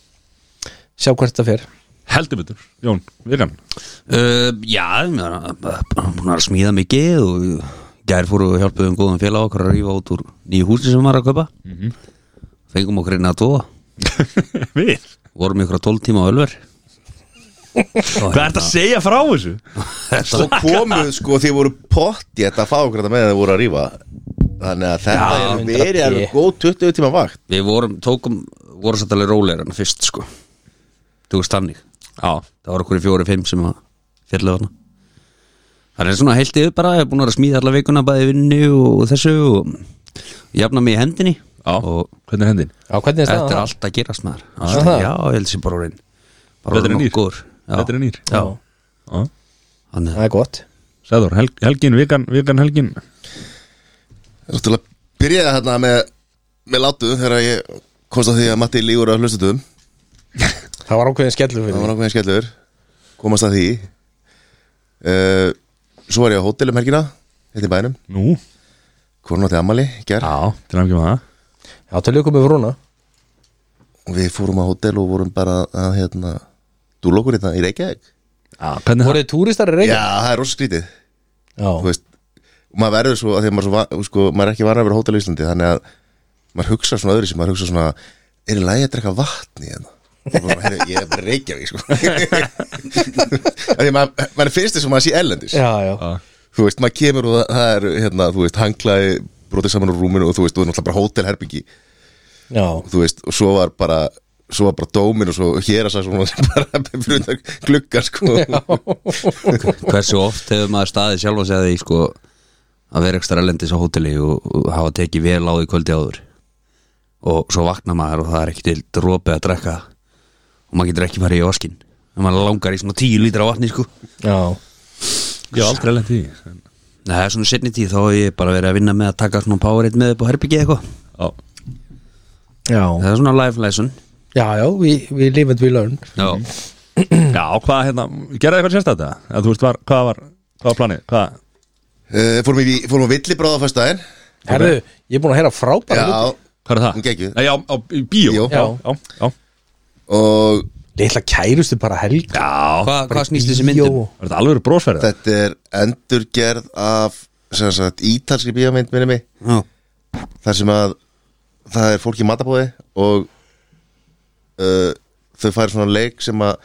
S2: sjá hvert það fer
S1: Heldur betur, Jón, vegan
S3: Uh, já, ég meina, hún var að smíða mikið og gær fóru og hjálpuðu um góðan félag okkar að rífa út úr nýju húsi sem var að kaupa fengum okkur einn að tóa
S1: Við?
S3: vorum ykkur að 12 tíma á Ölver
S1: Hvað ert að segja frá þessu?
S4: svo komuð sko því voru potti að fá okkur þetta með þeir voru að rífa þannig að þetta
S2: Já,
S4: er
S2: 100
S4: verið
S2: P.
S4: alveg góð 20 tíma vakt
S3: Við vorum, tókum, vorum satt alveg rólegir hann fyrst sko Þú veist þannig
S1: Já,
S3: Það var okkur í fjóri, fimm sem að fjallu þarna Það er svona heilt yfir bara Ég er búin að vera að smíða alla vikuna bæði vinnu og þessu og jafna mig í hendinni
S1: já
S3: og
S1: Hvernig er hendin?
S2: já, hvernig er
S3: þetta er
S2: staðan?
S3: allt að gerast maður
S2: Er
S3: allt,
S2: það?
S3: Já, ég held sér bara orðin bara
S1: Betur en nýr.
S3: nokkur
S1: Betur en nýr.
S3: Já,
S2: Já,
S1: Já
S3: þannig
S2: það er gott
S1: Sæður, hel, helgin, vegan, vegan helgin
S4: Náttúrulega byrjaði þarna með, með látu þegar ég komst að því að Matti lígur að hlustutum
S2: það var ákveðin skellur fyrir
S4: það var
S2: mig.
S4: nákvæmlega skellur komast að því uh, svo var ég á hótelum helgina hérna í bænum,
S1: Nú
S4: hvorn átti ammali ger,
S1: Já Til að ekki með það
S2: já, til ykkur með Vrúna
S4: og við fórum á hótel og vorum bara að hérna, dúla okkur hérna í Reykjavík
S1: Já, hvernig
S2: voruð þið túristar í
S4: já,
S2: Reykjavík?
S4: það er rosa skrítið
S2: Já.
S4: þú veist, og maður verður svo að því að maður, svo, va- sko, maður er ekki varan að vera á hótel í Íslandi þannig að maður hugsa svona öðru sem maður hugsa svona, er í lagi að drekka vatni hérna Og bara, heyrðu, ég er reykja við sko Af því að maður, maður er fyrst þess að maður sé ellendis
S2: já, já,
S1: það?
S4: þú veist, maður kemur og það, það er hérna, þú veist, hanglaði brotið saman úr rúminu og þú veist, þú er náttúrulega bara hótelherbyggi
S2: já.
S4: þú veist, og svo var bara svo var bara dómin og svo hér að sagði svona bara fyrir utan glugga sko
S3: Hversu oft hefur maður staðið sjálfa sig að því sko, að vera ekstra erlendis á hóteli og, og hafa tekið vel á því kvöldi áður og svo vakna maður og það er ekki til dropið að drekka og maður getur ekki farið í oskin en maður langar í svona tíu lítra af vatni sko
S2: Já,
S1: Já, aldrei alveg því en-
S3: Nei, það er svona setni tíð þá hef ég bara verið að vinna með að taka svona powerade með upp á herbyggi eitthvað
S1: Já
S3: það
S2: já,
S3: er svona life lesson
S2: já, já we, we live and we learn
S3: Já,
S1: Já, hvað hérna Gerði eitthvað sérstætt það? Eða þú veist, var, hvað var Hvað var planið? Hvað?
S4: uh, fórum, í, fórum á villibráða fyrst daginn
S2: Herðu, ég er búin að heyra frábæra hluti.
S4: já,
S1: Hvað er það?
S4: Hún geggjuð.
S1: Nei, já, á, í bíó
S4: Bíó.
S1: Já, já, já
S4: og
S2: Litla kærustu bara helga
S1: Já,
S3: Hva,
S2: bara
S3: Hvað snýst
S2: í
S3: þessi myndin?
S2: bíó.
S1: er þetta alveg brosverða?
S4: Þetta er endurgerð af sem sagt, ítalski bíómynd minni mig
S3: Já.
S4: þar sem að það er fólk í matabóði og uh, þau færi svona leik sem að,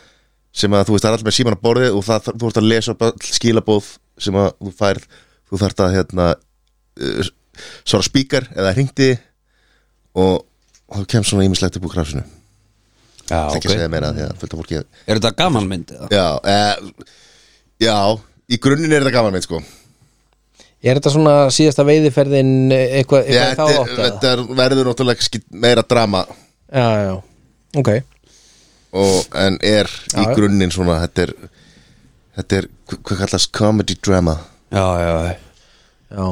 S4: sem að þú veist það er allir með síman að borði og það, þú ert að lesa upp öll skilabóð sem að þú færð þú þarft að hérna uh, svara spíkar eða hringdi og þá kemst svona ímislegt upp úr krafsinu okay. ekki að
S3: Já, Ah, ok
S4: segja meira því að fullt af fólki
S3: Er þetta gaman mynd? eða?
S4: já, e, já, í grunninn er þetta gaman minn sko
S2: Er þetta svona síðasta veiðiferðin eh, eitthvað,
S4: Já,
S2: eitthvað þá
S4: þetta er-
S2: átt að
S4: þetta er- verður náttúrulega kannski meira drama
S2: Já, já, ok
S4: og, en er í
S2: Já, já.
S4: grunninn svona þetta er, þetta er hva- hvað kallast comedy drama
S3: Já, já, já
S2: Já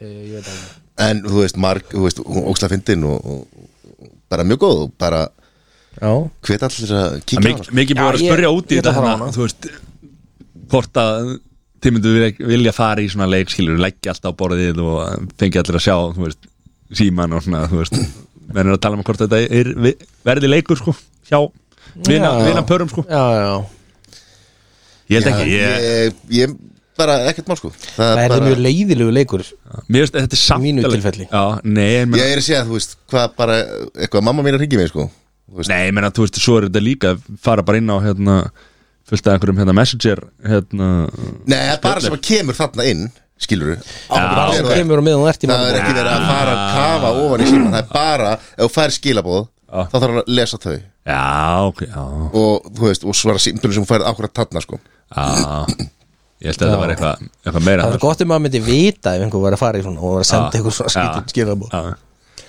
S2: Eh, Ég veit alveg
S4: en þú veist, marg, þú veist, óksla fyndin og, og bara mjög góð og bara
S2: Já,
S4: hvet allir að kíkja á sko.
S1: Mikið mikið búið að vera að
S2: Já, ég-
S1: spurja út í
S2: ég
S1: þetta
S2: ætla að fara á
S1: hana,
S2: hana.
S1: Þú veist Hvort að þið myndu vilja- vilja fara í svona leik Skilur, leggja allt á borðið og fengi allir að sjá Þú veist, síman og svona Þú veist, verður að tala um hvort þetta er, vi- verði leikur sko Hjá, vina,
S2: Já.
S1: vina pörum sko
S2: já, já
S1: Ég held
S4: hana
S1: ekki, ég,
S4: ég, ég bara ekkert mál sko
S2: Það er
S4: bara,
S2: það mjög leiðilegu leikur
S1: mér veist, þetta er samt
S2: mínu
S1: alveg-
S2: tilfelli.
S1: Já, nei, ég meina-
S4: ég er að segja, þú veist, hvað bara eitthvað mamma mín er að hringi mig sko Þú veist,
S1: Nei, ég meina, þú veist, svo er þetta líka fara bara inn á, hérna, fullt af einhverjum, hérna, messenger, hérna
S4: nei, það er bara sem að kemur þarna inn skilur við
S2: Það sem kemur á miðan og ert í
S4: það er
S2: mannbóð
S4: ekki verið að fara að kafa ofan í síman það er bara, ef þú fær skilabóð
S1: Já.
S4: þá þarf að lesa þau
S1: Já, ok, já,
S4: og þú veist, og svara símtölu sem þú færið akkurat þarna sko
S1: já Ég held að þetta var eitthvað, eitthvað meira
S2: Það er gott um að myndi vita ef einhver var að fara í svona og var að senda
S1: Já,
S2: eitthvað svona skýtum
S1: já,
S2: skilabóð
S1: já.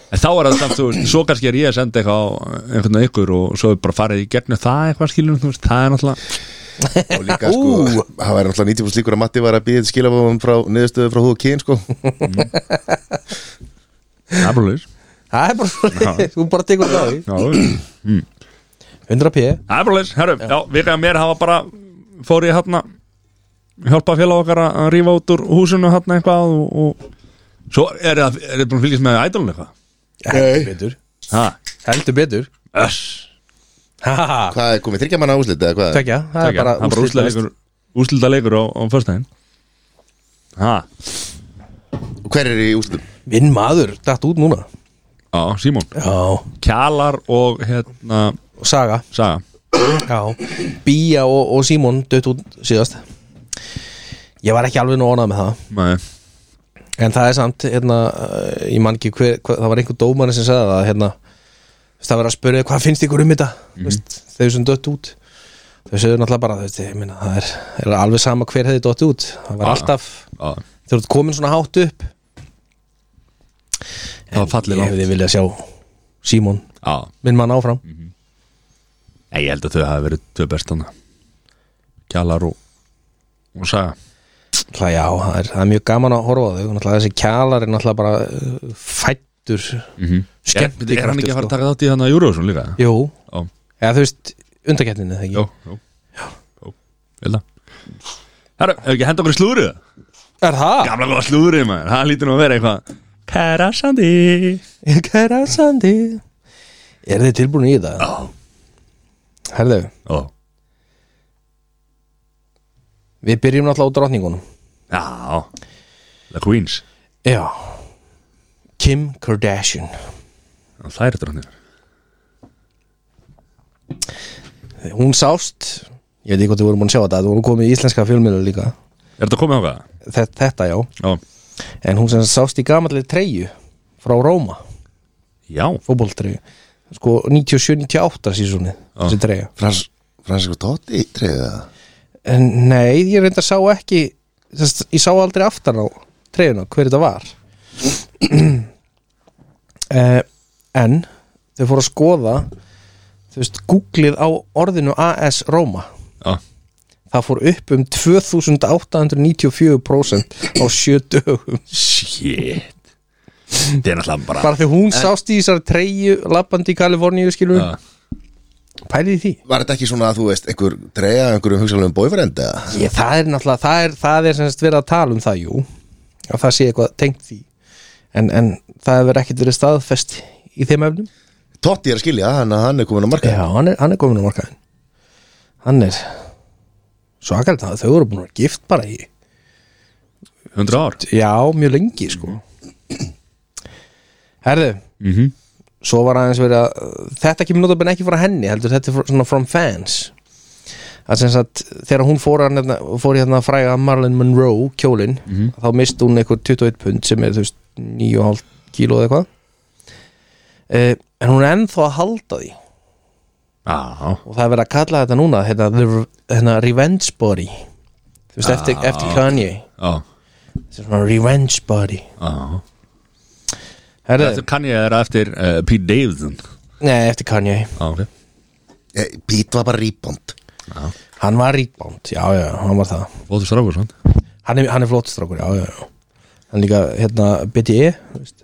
S1: En þá er það samt, þú veist, svo kannski er ég að senda eitthvað á einhvern veginn ykkur og svo er bara farið í gegnum það eitthvað skilur, þú veist, það er náttúrulega
S4: og líka sko, það væri náttúrulega 90% líkur að Matti var að býða skilabóðum frá niðurstöðu frá hú og kyn sko
S1: Það er bara laus
S2: Það er bara svona, þú bara tekur þetta á því
S1: Já, laus.
S2: 100 p
S1: Það er bara leys, herru, já, við gæðum mér hafa bara fór ég hérna hjálpa félag okkar að að rífa út úr húsinu hérna eitthvað og, og svo er það, er það búin að fylgjast með ædolun eitthvað
S2: Heldur betur
S1: Ha,
S2: Heldur betur
S1: öss,
S2: Haha,
S4: hvað er komið þryggja manna úslit eða hvað
S2: tvekja, það er
S1: það
S2: bara
S1: er bara
S2: úrslit
S1: úslita leikur úslita leikur á, á föstudaginn Ha,
S4: og hver er í úslitum
S2: næst. Minn maður, datt út núna
S1: á, Simon
S2: Já Og
S1: Kjalar og hérna
S2: Saga
S1: Saga,
S2: Já Bía og, og Símon dött út síðast Ég var ekki alveg nú ánað með það
S1: maður
S2: En það er samt, hérna, eh, ég man ekki hver, hver það var einhver dómari sem sagði það, hérna, þú veist, það var að spurja hvað finnst ykkur um þetta,
S1: Mhm.
S2: mm veist, þau sem dött út, þau sögðu náttúrulega bara, þú veist, ég minna, það er, er alveg sama hver hefði dött út, það var
S1: Ah.
S2: alltaf,
S1: Já,
S2: þau eru komin svona hátt upp,
S1: það var fallið
S2: ég
S1: langt
S2: hefði viljað sjá Símon,
S1: Já,
S2: minn mann áfram,
S1: Nei, ég held að þau hafi verið tvö bestana Kjalar og, og Saga
S2: náttúrulega já, það er, það er mjög gaman að horfa á þau, náttúrulega þessi kjalar er náttúrulega bara uh, fættur, mm
S1: Mhm.
S2: -hmm.
S1: er, er hann ekki að fara að
S2: sko.
S1: taka þátt í þannig að Júruvísson líka?
S2: Jú,
S1: Já,
S2: eða þú veist, undarkettninni, þegar ekki?
S1: já, já, já, vel það Herra, hefur ekki henda okkur í slúrið?
S2: Er það?
S1: Gamla góða slúrið maður, það lítur nú að vera eitthvað Kærasandi
S2: Kærasandi Er þið tilbúin í þetta? Já Herðu,
S1: Ó,
S2: við byrjum náttúrulega á drottningunum
S1: já, The Queens
S2: Já Kim Kardashian
S1: Það er þetta hann
S2: Hún sást Ég veit ekki hvort þið vorum búin að sjá þetta Þú voru komið í íslenska fjölmiðla líka
S1: Er þetta komið ákvað?
S2: þetta, þetta já
S1: Já,
S2: En hún sem sást í gamalli treyju Frá Róma,
S1: já,
S2: fótboltreyju Sko 97-98 sísunni Þessi treyja
S4: Frans, Fransikur Totti treyði það
S2: En nei, ég reynda sá ekki þess, Ég sá aldrei aftan á treyjuna Hver þetta var uh, En Þau fóru að skoða Þú veist, googlið á orðinu AS Róma
S1: já,
S2: Það fór upp um 2894% á sjö dögum
S1: shit Þetta er náttúrulega bara
S2: Bara því hún sást í þessari treyju Lappandi í Kaliforníu skilur
S1: Já.
S2: Pælið í því
S4: var þetta ekki svona að þú veist einhver treyja einhverjum hugsalegum boyfriend eða
S2: Ég, það er náttúrulega, það er, það er semst verið að tala um það, jú og það sé eitthvað tengt því en, en það hefur ekkert verið staðfest í þeim efnum
S4: Totti er að skilja, hann, hann er komin á marka
S2: Já, hann er, hann er komin á markaðin Hann er svakalit að þau eru búin að vera gift bara í
S1: 100 ár
S2: Já, mjög lengi sko Herðu
S1: mm -hmm.
S2: svo var aðeins verið að þetta kemur notabene ekki frá henni heldur þetta er fr- svona from fans að sem sagt þegar hún fór, hann, hérna- fór í hérna að fræga Marlon Monroe kjólin þá misti hún einhver 21 pund sem er þú veist 9,5 kíló eða eitthvað uh, en hún er ennþá að halda því
S1: Já,
S2: og það er verið að kalla þetta núna hérna, the, re- hérna revenge body þú veist eftir, eftir Kanye
S1: já,
S2: þetta er svona revenge body
S1: já
S2: Herðu,
S1: Þetta kann ég er eftir uh, Pete Davidson
S2: nei eftir Kanye
S1: Já, ok
S4: Eh, Pete var bara rebound
S2: hann var rebound, já já, hann var það
S1: Fóttu strákur svona
S2: hann er, hann er flott strákur, já, já, já hann líka, hérna, BTE þú veist.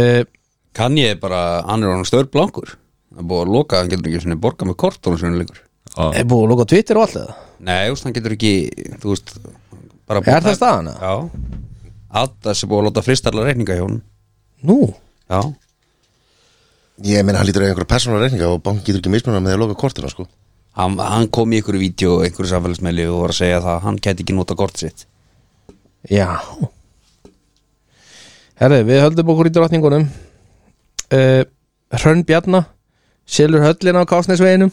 S2: uh,
S3: Kann ég bara, hann er hann stöður blankur Hann er búið að loka, hann getur ekki svona borga með kort og svona lengur
S1: Eh,
S2: er búið að loka á Twitter og allt það
S3: Nei, þú veist, hann getur ekki, þú veist bara
S2: Er það staðan, eða?
S3: Já Adas er búið að láta fristarla reikninga hjá honum
S2: nú,
S3: Já,
S4: Ég meina, hann lítur að einhverja persónulega reikninga og bank getur ekki mismunum með því að loka kortina, sko
S3: hann, hann kom í einhverju vídeo, einhverju samfélagsmeili og var að segja það, að hann gæti ekki nota kort sitt
S2: já herri, við höldum okkur í drottningunum uh, Hrönn Bjarna selur höllina á Kásnesveginum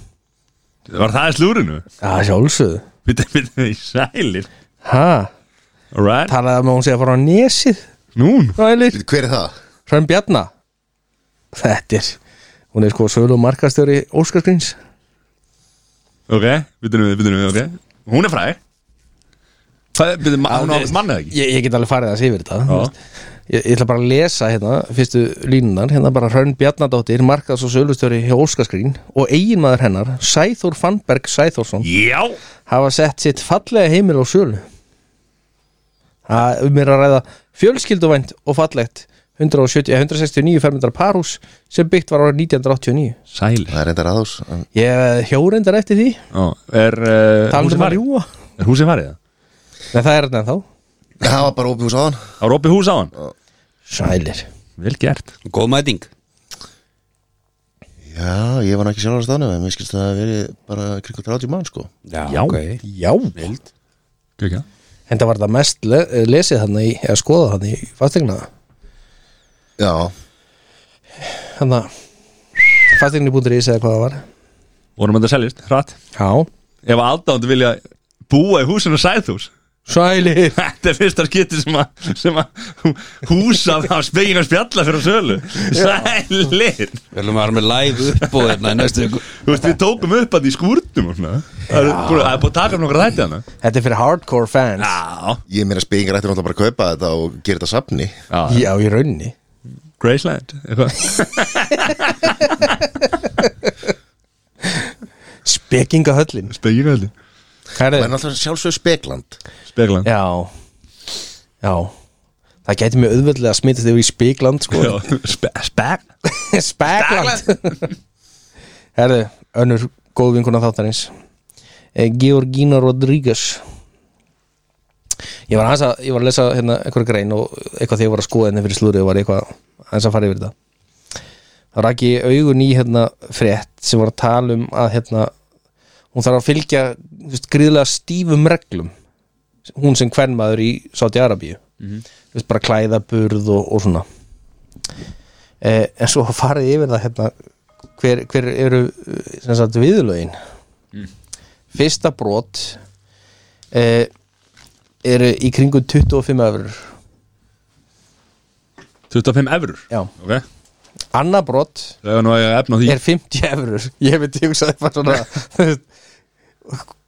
S1: Var það í slúrinu?
S2: að sjálfsögðu,
S1: Við erum í sælir
S2: ha
S1: Alright
S2: talaði um að hún sé að fara á nesið
S1: Nún
S2: rælir,
S4: Hver er það?
S2: Hrönn Bjarna þetta er hún er sko sölu og markastjóri Óskarskríns
S1: Ok, við erum við, við erum við, ok Hún er fræg Það er, við erum, hún á mannað ekki
S2: ég, ég get alveg farið að sé yfir þetta
S1: Já.
S2: þú veist. ég, ég ætla bara að lesa hérna fyrstu línunar, hérna bara Hrönn Bjarnadóttir markaðs og sölustjóri hjá Óskaskrín og eiginmaður hennar, Sæþór Fannberg Sæþórsson,
S1: Já
S2: hafa sett sitt fallega heimil á sölu það er um er að ræða fjölskylduvænt og fallegt 170, eh, 169 fermyndar parhús sem byggt var árið 1989
S1: Sælir
S4: Það er reyndar aðhús en
S2: ég hjórendar eftir því
S1: Já, er uh, Eh,
S2: talandi
S1: húsið
S2: um að
S1: farið?
S2: rjúa
S1: Er húsið farið það?
S2: Nei, það er þetta en þá,
S4: Það var bara opið hús á hann
S1: Það var opið hús á hann
S2: sælir
S1: Vel gert
S3: Góð mæting
S4: Já, ég var nú ekki sjálfur á staðnum en mér skilst að það hafi verið bara kringu 30 mann, sko
S1: Já.
S3: ok
S2: já,
S3: Vild.
S1: Kekja
S2: En það var það mest le lesið hann í, eða skoðað hann í fastegna
S4: Já,
S2: hann að fastegni.is eða hvað það var
S1: Vorum þetta seljist, hratt
S2: Já,
S1: Ef aðdándu vilja búa í húsinu sæðhús
S2: sælir
S1: Þetta er fyrsta skipti sem að, sem að húsað á spegin og spjalla fyrir á sölu Sælir
S3: Við ætlum að vera með live upp og þarna í næstu viku.
S1: Þú veist, við tókum upp að því skúrtum og svona Það er búið það er búið að taka um nokkra þætti hana
S2: Þetta er fyrir hardcore fans Já,
S1: Já,
S4: ég meina spekingar ætti náttúrulega bara að kaupa þetta og gera þetta safni
S1: já,
S2: í raunni
S1: Graceland eitthvað.
S2: Spekingahöllin
S1: Spegingöldi
S2: Hvað
S4: Það er
S2: er það?
S4: náttúrulega sjálfsögur spekland
S1: Spegland
S2: Já, já Það gæti mjög auðveldlega að smitast yfir í Spegland sko.
S1: Já, spe Speg
S2: Spegland Herðu, önnur góð vinkuna þáttarins Eh, Georgina Rodríguez Ég var, aðeins að, ég var að lesa hérna einhverja grein og eitthvað þegar ég var að skoða henni fyrir slúrið var eitthvað aðeins að fara yfir þetta þá rak ég augun í hérna frétt sem var að tala um að hérna hún þarf að fylgja þú veist, gríðlega stífum reglum hún sem kvenmaður í Saudi-Arabíu þú veist bara klæðaburð og, og svona eh, en svo farið yfir það hérna hver, hver eru eh, sem sagt viðlögin
S1: Mm.
S2: fyrsta brot eh, eru í kringu 25 öfur
S1: 25 eurur
S2: Já.
S1: Ok
S2: anna brot
S1: Það er nú að efna á því
S2: er 50 öfur ég veit ég hugsaði bara svona þú veist,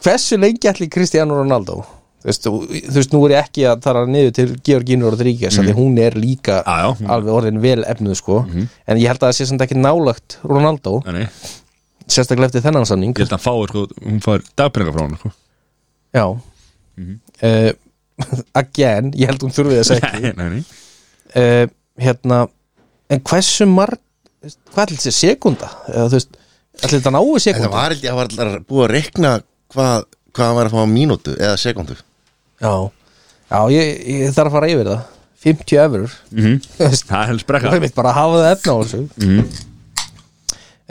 S2: hversu lengi ætli Cristiano Ronaldo þú veist, þú, þú veist, nú er ég ekki að tala niður til Georgina Rodríguez mm. því hún er líka
S1: Mhm. Já, Mhm. já, hún-
S2: alveg orðin vel efnuð sko, en ég held að það sé samt ekki nálagt Ronaldo,
S1: Nei, ég
S2: sérstaklega eftir þennan samning
S1: held að hann fái sko, hún fær dagpenninga frá hann sko.
S2: Já uh, Again, ég held hún þurfið þess ekki
S1: Nei, nei, nei
S2: uh, Hérna En hversu marg Hvað ætlir þessi sekunda? Eða, þú veist, ætlir þetta náu
S4: Það
S2: sekunda?
S4: var held ég að var alltaf búið að rekna hvað, hvað hann var að fá á mínútu eða sekundu
S2: Já, já ég, ég þarf að fara yfir það 50 efur
S1: Mhm.
S2: Þú veist,
S1: Það er helst
S2: Það
S1: brekka
S2: er mitt bara að hafa það efna á þessu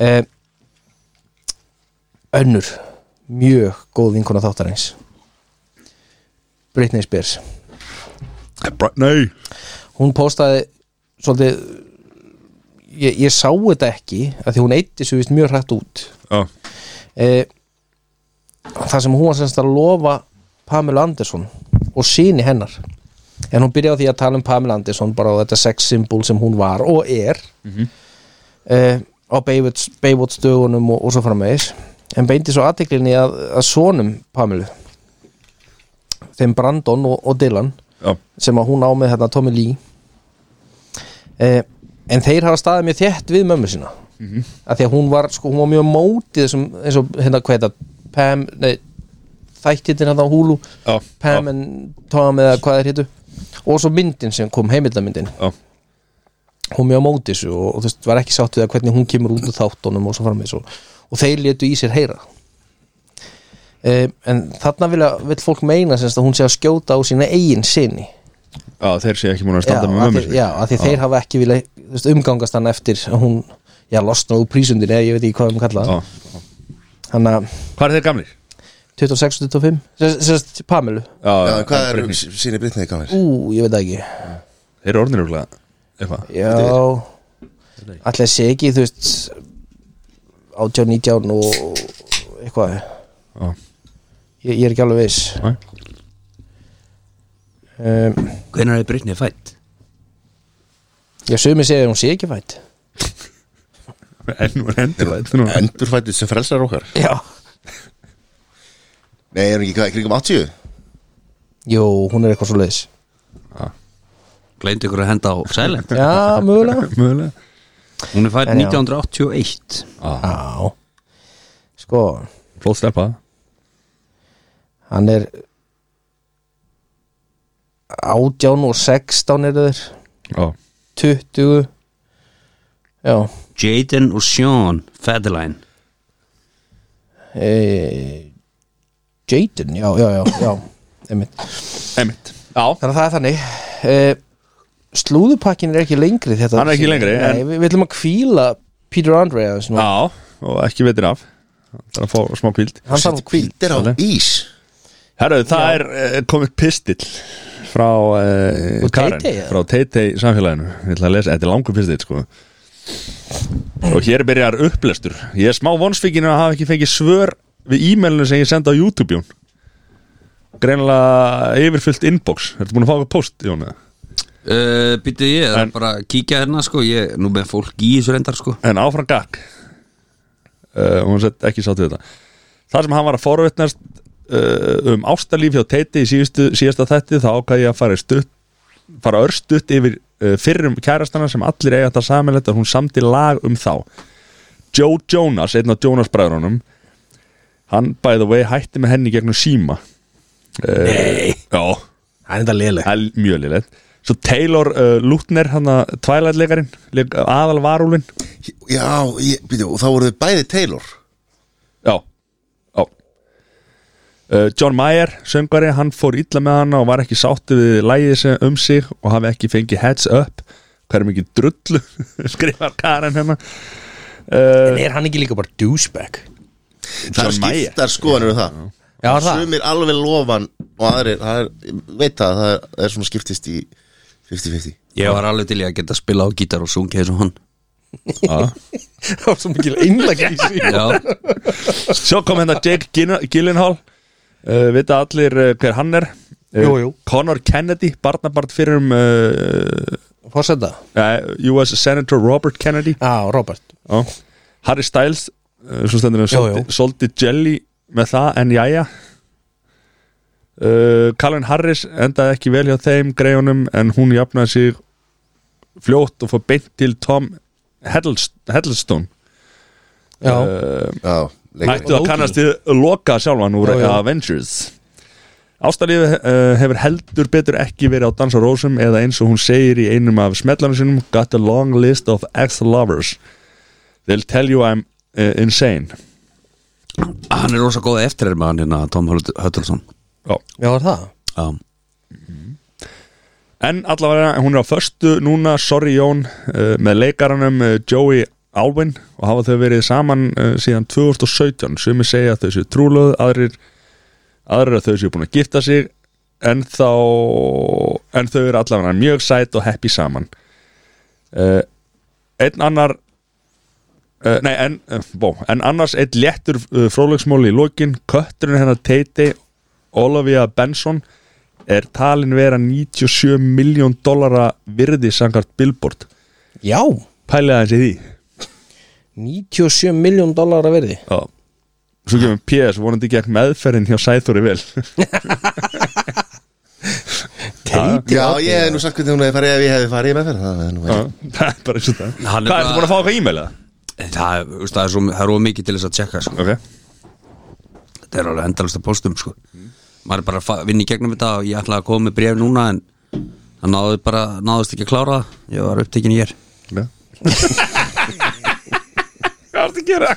S2: eh, önnur mjög góð vinkona þáttarins Britney Spears
S1: Bra- Nei,
S2: hún postaði svolítið ég, ég sá þetta ekki að því hún eitti svo vist mjög hrætt út
S1: já,
S2: eh, það sem hún var semst að lofa Pamela Anderson og síni hennar en hún byrjaði á því að tala um Pamela Anderson bara á þetta sex symbol sem hún var og er eh, á Baywatch, Baywatch dögunum og, og svo framvegis en beindi svo aðteklinni að, að sonum Pamelu þeim Brandon og, og Dylan
S1: já,
S2: sem að hún á með hérna Tommy Lee eh, en þeir hafa staðið mér þétt við mömmu sína mm
S1: Mhm.
S2: að því að hún var, sko, hún var mjög mótið þessum, eins og hérna hvað þetta Pam, nei, þættitin hérna á Hulu
S1: já
S2: Pam
S1: já,
S2: and Tom eða hvað þeir hétu og svo myndin sem kom, heimildamyndin
S1: Já.
S2: hún mjög mótið þessu og, og þú veist, var ekki sátt við að hvernig hún kemur út úr þáttunum og svo framvegis og, og þeir létu í sér heyra eh, en þarna vilja, vill fólk meina semst að hún sé að skjóta á sína eigin sinni
S1: já, þeir sé ekki múin að standa
S2: já,
S1: með
S2: að
S1: mömmu
S2: þeir-
S1: sinni.
S2: Já, að því þeir hafa ekki vilja þú veist, umgangast hann eftir að hún, já, losna úr prísundin eða ég veit ekki hvað um kalla
S1: Já.
S2: það Þannig að
S1: Hvað er þeir gamlir?
S2: 26-25 Sérst, Pamelu,
S1: Já,
S4: Já,
S1: já,
S4: hvað er
S1: Britney.
S4: síni Britney gamlir?
S2: ú, ég veit það ekki
S1: Þeir eru orðinir örugglega eitthvað
S2: Já, allir sé ekki, þú veist 18-19 og eitthvað
S1: Já.
S2: ég, ég er ekki alveg viss
S1: Nei.
S2: um,
S3: Hvenær er Brytni fætt?
S2: Já, sumir segja að hún sé ekki fætt
S1: Enn var endur þetta nú
S4: Endurfættið sem frelsar okkar
S2: Já
S4: Nei, er hún ekki hvað, kringum 80?
S2: Jú, hún er eitthvað svo leiðis
S3: Gleymdi ykkur að henda á Silent
S2: Já, mögulega
S1: Mögulega
S3: Hún er fætt
S2: En já.
S3: 1981
S2: Já Sko,
S1: Flóð stelpa
S2: hann er 18 og 16 eru þeir
S1: Já
S2: 20 Já
S3: Jaden og Sean Federline
S2: e, Jaden, já, já, já, já einmitt.
S1: Einmitt Já
S2: Þannig að það er þannig e, Slúðupakkin er ekki lengri þetta
S1: Hann er ekki
S2: sé-
S1: lengri,
S2: Nei,
S1: en-
S2: við, við ætlum að kvíla Peter Andre aðeins nú
S1: Já Og ekki veitir af Það er að fá smá kvíld
S2: Hann þarf kvíl
S4: Hvíldir á
S1: Svolítið.
S4: ís
S1: Herru, það er eh, komið pistill frá eh,
S2: Úr
S1: Karen,
S2: Tay-Tay, eða?
S1: frá Teitei samfélaginu Ég ætla að lesa, þetta er langur pistill sko Og hér byrjar upplestur Ég er smá vonsfíkinu að hafa ekki fengið svör við e-mailinu sem ég senda á YouTube Jón Greinilega yfirfyllt inbox Ertu búin að fá eitthvað post, Jón? eða?
S3: uh, Býtu ég, það
S1: En-
S3: er bara að kíkja hérna sko Ég nú með fólk í þessu reyndar sko
S1: En áfram gakk uh, Hún sett ekki sátt við þetta Þar sem hann var að forvitnast uh, um ástalíf hjá Teiti í síðustu, síðasta þætti þá ákvað ég að fara, í stutt, fara örstutt yfir uh, fyrrum kærastana sem allir eiga þetta samanlegt að hún samti lag um þá Joe Jonas, einn af Jonas bræðrunum hann by the way hætti með henni í gegnum síma Nei Já
S2: Hann er þetta léleg
S1: Það er mjög lilegt Svo Taylor uh, Lutner, hann að tvælætleikarinn aðal varúlin
S4: Já, ég, býtum, og þá voru þau bæði Taylor
S1: Já, já. Uh, John Mayer, söngari, hann fór illa með hana og var ekki sáttu við lægið sem um sig og hafi ekki fengið heads up hver er mikið drullu skrifar Karen hérna. Uh, hennar
S2: En er hann ekki líka bara douchebag?
S4: Það er
S1: John Mayer.
S4: skiptar skoðanur um það
S2: Já, er það?
S4: Sumir alveg lofan og aðrir, það er, ég veit það, það er, það er svona skiptist í 50-50
S3: Ég var alveg til ég að geta að spila á gítar og sungja eins og hann
S2: Það var svo mikil einlæg í sig
S3: Já,
S1: Svo kom hérna Jake Gyllen- Gyllenhaal uh, vita allir uh, hver hann er uh,
S2: Jú, jú.
S1: Connor Kennedy, barnabart fyrir um uh,
S2: Fórseta?
S1: uh, US Senator Robert Kennedy
S2: Já, Robert
S1: Já. Harry Styles uh, svo stendur
S2: Jú, jú.
S1: hann Solti Jelly með það en jæja uh, Colin Harris endaði ekki vel hjá þeim greiðunum en hún jafnaði sig fljótt og fór beint til Tom Hiddlest- Hiddleston
S2: Já,
S1: Eh,
S4: Já, leikari
S1: Ættu að kannast við loka sjálfan úr
S2: Já, já.
S1: Avengers Ástalífi uh, hefur heldur betur ekki verið á dansa rósum eða eins og hún segir í einum af smetlanum sinum Got a long list of ex-lovers They'll tell you I'm uh, insane
S3: hann er rosa góð eftir er með hann hérna Tom Höttulsson
S1: Já.
S2: já, er það?
S3: Já,
S1: En allavega hún er á föstu núna, sorry Jón uh, með eh, leikaranum uh, Joey Alvin og hafa þau verið saman uh, síðan 2017 sumi segja að þau séu trúlöð aðrir, aðrir að þau séu búin að gifta sig en þá en þau eru allavega mjög sæt og happy saman uh, einn annar uh, nei en, uh, bó, en annars einn léttur uh, fróðleiksmóli í lokin kötturinn hennar Teiti Olivia Benson er talin vera 97 miljón dollara virði sangart Billboard
S2: Já,
S1: pælega aðeins í því
S2: 97 miljón dólar að verði
S1: Já. Svo kemur PS vonandi gegn meðferðin hjá Sæþóri vel
S2: Teiti
S4: Já, ég hef nú sagt hvernig hún hefði farið ef ég hefði farið með þeirra það er nú verið.
S1: Það er bara eins og það
S3: Hann er
S1: Hvað, ertu
S3: bara-
S1: búin að fá eitthvað e-mail eða?
S3: Það, er- þú veist, það er svo það er of mikið til þess að tjekka sko.
S1: Ok
S3: Þetta er alveg endalasta postum sko. Maður er bara að fa- vinna í gegnum þetta og ég ætlaði að koma með bréf núna en það náði bara, náðist ekki að klára það. Ég var upptekinn í hér
S1: Já. Hvað ertu að gera?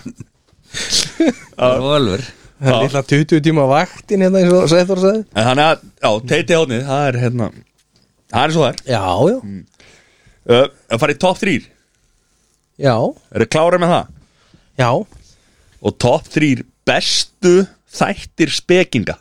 S3: Það var alveg
S2: Það er lilla 20 tíma vaktin hérna eins og Sæþór sagði
S1: En þannig að, já, teiti hóðnið, það er hérna Það er svo það
S2: Já, já,
S1: er uh, Að fara í top 3
S2: já,
S1: Eru klárið með það?
S2: já
S1: Og top 3 bestu þættir spekinga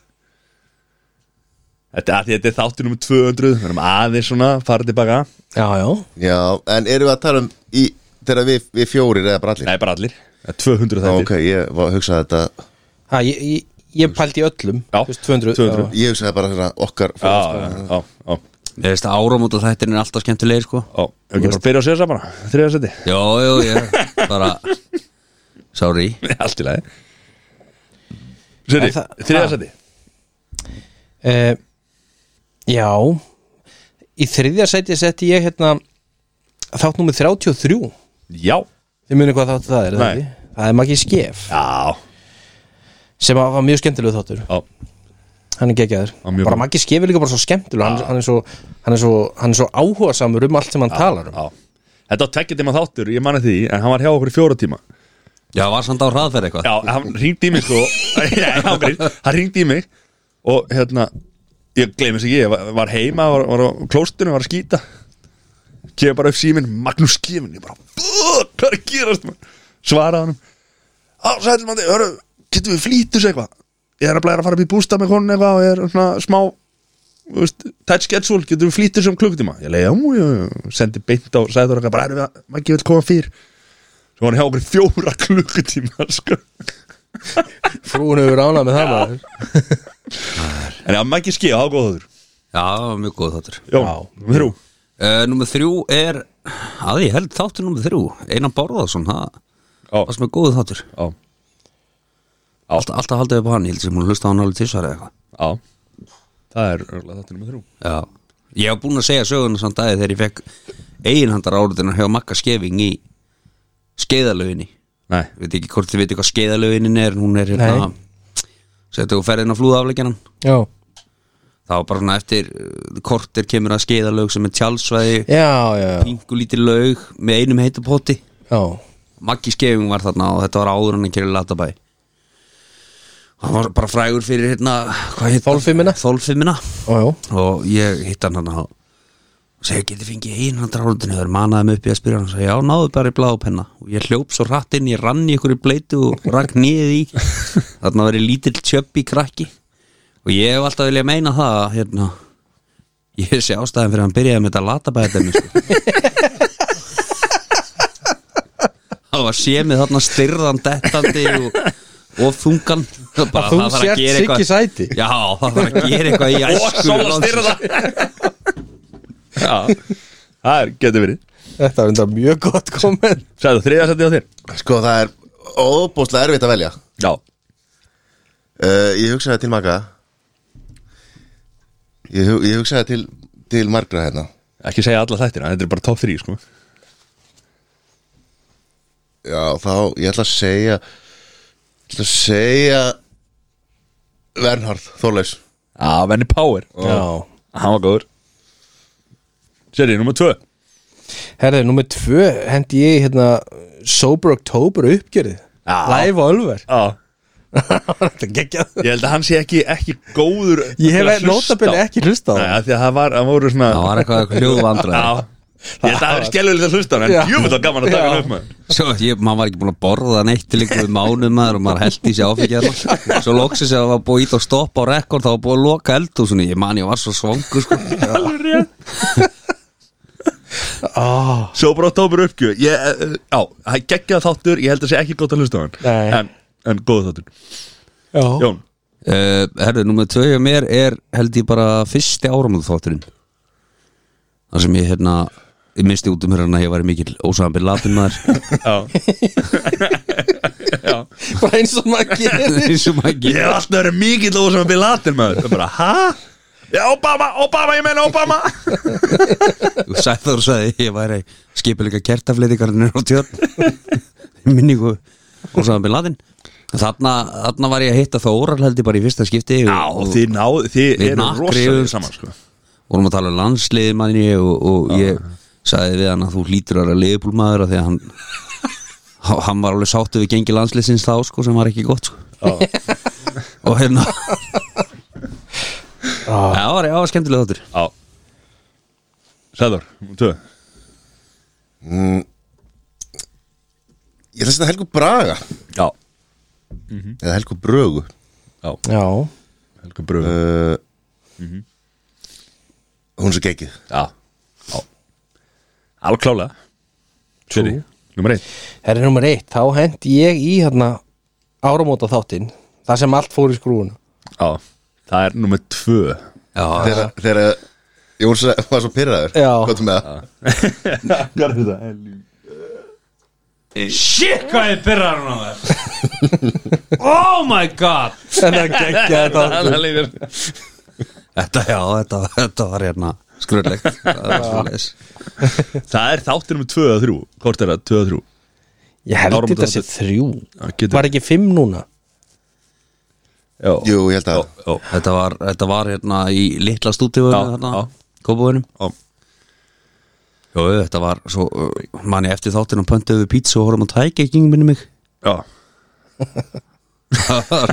S1: Þetta, af því þetta er þáttir nummer 200 Við erum aðeins svona, fara tilbaka
S2: Já, já,
S4: Já, en erum við að tala um í, þegar við, við fjórir eða bara allir
S1: Nei, bara allir Það er 200
S4: Já,
S1: þættir
S4: ok, ég var, hugsaði þetta
S2: ha, ég, ég, ég pældi í öllum
S1: Já,
S2: þú veist, 200,
S1: 200.
S4: Ég hugsaði bara hérna okkar
S1: Já,
S4: fólk,
S1: já,
S4: sko.
S1: já, já, já.
S3: Ég veist að áramóta þættin er alltaf skemmtilegir sko
S1: Já, ef ekki bara byrja á sér bara Þriða seti
S3: Jó, jó, ég bara Sorry
S1: Allt í lagi Seri,
S2: En það-
S1: þriða
S2: það-
S1: seti
S2: já. Eh, já Í þriðja sæti setti ég hérna Þátt númer 33
S1: Já
S2: Þið munið hvað þátt það er, er það
S1: Nei.
S2: ekki? Það er Maggi Skef
S1: Já
S2: sem að var mjög skemmtilegu þáttur
S1: Já,
S2: hann er geggjaður,
S1: Já, mjög
S2: bara
S1: gott.
S2: Maggi Skef er líka bara svo skemmtileg hann, hann, er svo, hann, er svo, hann er svo áhuga samur um allt sem hann talar um
S1: já Þetta var tveggja tíma þáttur, ég mani því En hann var hjá okkur í fjóra tíma
S3: Já, var samt á hraðferð eitthvað
S1: Já, hann ringdi í mig sko Já, hann grín Hann ringdi í mig Og hérna Ég gleymis ekki, ég var, var heima Var, var á klóstinu, var að skýta Kemur bara upp síminn, Magnús Kefin Ég bara, fuck, hvað er að gerast maður? Svaraði hann Á, sælmandi, hörru, getum við flýtus eitthvað Ég er að blæra að fara upp í bústa með konun eitthvað Og ég er svona smá þú veist, Tight schedule, getum við flýtus um klukktíma Ég leiði, já, já, já, sendi beint á Sæður eitthvað, bara erum við að, maður ekki vil koma fyrr Svo var hann hjá okkur í fjóra klukkutíma sko.
S2: frúin hefur ánað með það maður
S1: En ef maður ekki skýja, þá góður
S3: Já, það var mjög góð þáttur
S1: Jón,
S2: Já.
S1: númer þrjú
S3: uh, Númer þrjú er að ég held þáttur númer þrjú Einar Bárðarsson, það
S1: Já.
S3: var sem er góð þáttur
S1: Já,
S3: Alltaf, alltaf haldið upp á hann, ég held sem hún hlusta á hann alveg tísvar eða eitthvað
S1: já Það er örgulega þáttur nummer þrjú
S3: Já, ég hef búin að segja söguna samt aðeins þegar ég fekk eiginhandar áriðina hjá Magga Skefing í skeiðalöginni
S1: Nei,
S3: Veit ekki hvort þið veit hvað skeiðalöginin er en hún er hérna
S2: Nei.
S3: Settu og ferðin á flúðafleikjanan
S2: já,
S3: Það var bara svona eftir uh, kortir kemur að skeiðalög sem er tjálsvæði
S2: já, já, já.
S3: pingu lítið laug með einum heitupóti
S2: já.
S3: Maggi Skefing var þarna og þetta var áður hann að kera Latabæ hann var bara frægur fyrir hérna hvað heit
S2: Þolfimmina?
S3: Þolfimina
S2: Ó, já.
S3: og ég hitt hann hann og segi getið fengið einn hann drálutinu þegar manaði mig upp í að spyrja hann og segi já náðu bara í bláðpenna og ég hljóp svo hratt inn ég rann í ykkur í bleitu og rakk nýðið í þarna verið lítill tjöppi krakki og ég hef alltaf viljað meina það að, hérna ég sé ástæðan fyrir að hann byrjaði með þetta latabæðdæmi sko. það var sémið þarna styrðan dettandi og, og þungan það bara-
S2: Að þú
S3: það þarf að
S2: sért
S3: gera
S2: Siggi
S3: eitthvað-
S2: sæti?
S3: já það var að gera eitthvað í æsku
S1: Já, það er, getur verið
S2: þetta er enda mjög gott komment
S1: Sæður þriða setið á þér
S4: Sko, það er óbúslega erfitt að velja
S1: Já,
S4: uh, Ég hugsaði til maka Ég, hu- ég hugsaði til, til margra hérna
S1: ekki segja alla þættina, þetta er bara top 3 sko
S4: Já, þá, ég ætla að segja Ég ætla að segja Vernharð, Þorleifs
S1: Já, Venni Power
S2: já,
S1: Hann var góður Seri, nummer 2
S2: herrið, nummer tvö hendi ég hérna Sober October uppgjörið
S1: Já.
S2: Live og Ölver
S1: Já,
S2: Þetta er geggjað.
S1: ég held að hann sé ekki, ekki góður
S2: Ég
S1: til að
S2: hef
S1: hlusta á.
S2: notabili ekki hlusta á
S1: Nei,
S2: það
S1: af því að það var, það voru svona
S3: það var eitthvað hljóðvandra
S1: Já, Ég held að það er skelvilegt að hlusta á hann
S2: Já.
S1: En jú, það var gaman að taka
S2: Já.
S1: hann upp maður
S3: Svo, ég, maður var ekki búin að borða neitt til einhverjum mánuð maður og maður held í sig áfengjar Svo loksins að það var búið ít að stoppa á rekord þá var búið að loka eldhúsunni Ég man ég var svo svangur sko
S1: Alveg rétt
S2: Ah,
S1: Svo bara tómur uppgjöf Ég, eh, Já, það geggjaði þáttur Ég held að sé ekki gott að hlusta á hann
S2: Nei.
S1: En, en góð þáttur
S2: Já,
S1: Jón,
S3: uh, Herðu, nummer tvö hjá mér er held ég bara fyrsti áramöðu þátturinn Það sem ég hérna Ég misti út um hérna að ég væri mikill ósambil latin maður
S1: já
S2: bara eins og maður gerir
S3: eins og maður
S1: Ég
S3: gerir.
S1: hef alltaf verið mikið lóð sem að byrja latin maður Það er bara, hæ? Já, Obama, Obama, ég meina Obama
S3: Og Sæþór sagði ég væri skipilega kertafleitingarnir á tjörn minningu ósambil latin Þarna, þarna var ég að hitta Þórar held ég bara í fyrsta skipti
S1: Já,
S3: og, og,
S1: þið náðu, þið
S3: Við
S1: eru
S3: nakriðumst.
S1: rosalega saman sko.
S3: vorum að tala um landsliði manni og, og ég sagði við hann að þú hlýtur að vera leifbúlmaður að því að hann hann var alveg sáttu við gengi landsliðsins þá sko sem var ekki gott sko og hérna
S5: Ah.
S3: Já, var, já, var skemmtilega þáttur
S1: Já Sæður, tvö
S4: Ég ætla að setja Helgu Braga
S1: Já,
S4: Mhm. Eða Helgu Brögu
S1: já,
S2: Já,
S1: Helga Brug
S4: uh, Hún er svo geggið
S1: Já, já Alveg klálega Sveri, nummer eitt
S2: herri nummer eitt þá hendi ég í hérna áramóta þáttinn, það sem allt fór í skrúuna
S1: Já, það er nummer tvö
S3: Já,
S4: Þegar þegar Jón sa- var svo pyrraður
S2: Já.
S4: Hvað með það?
S1: Gerðu þetta
S5: Shit, hvað ég byrjar hún á þér Oh my god
S2: en það geggja þetta
S1: Það lífir
S3: þetta, já, þetta, þetta var hérna skröðlegt Já,
S1: Það er þáttir nummer tvö að þrjú Hvort er það, tvö að þrjú
S2: Ég held
S1: Áramóta
S2: þetta sé þrjú
S1: Já, getur-
S2: Var ekki fimm núna?
S1: Já,
S4: Jú, ég held að
S1: já,
S3: þetta, var, þetta var hérna í litla stúdíu
S1: Já, já.
S3: hérna, kópavunum
S1: já
S3: Jó, þetta var svo, manni eftir þáttin að pöntu yfir pizza og horfum að tækja ekki minni mig
S1: Já,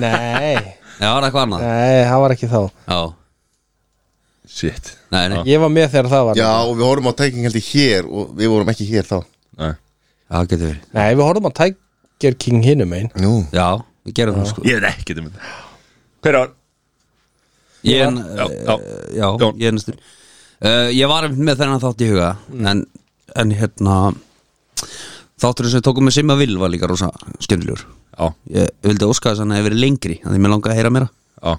S2: Nei,
S3: Já, var eitthvað annað
S2: nei, það var ekki þá
S3: Já,
S1: shit
S3: nei, nei,
S2: Ég var með þegar það var
S4: Já, og við horfum á tæking held ég hér Og við vorum ekki hér þá
S1: Nei.
S3: það getur verið
S2: Nei, við horfum á Tiger King hinum einn
S4: Nú
S3: Já, við gerum það sko
S1: Ég veit ekki um þetta Hver var?
S3: Ég en, eh,
S1: Já, já.
S3: já,
S1: Jón.
S3: ég en stund uh, Ég var einmitt með þennan þátt í huga
S1: Mm.
S3: en, en hérna Þátturinn sem við tókum með Simma Vil var líka rosa skemmtilegur
S1: Já,
S3: Ég vildi óska þess að hann hefði verið lengri af Því mér langaði að heyra meira
S1: já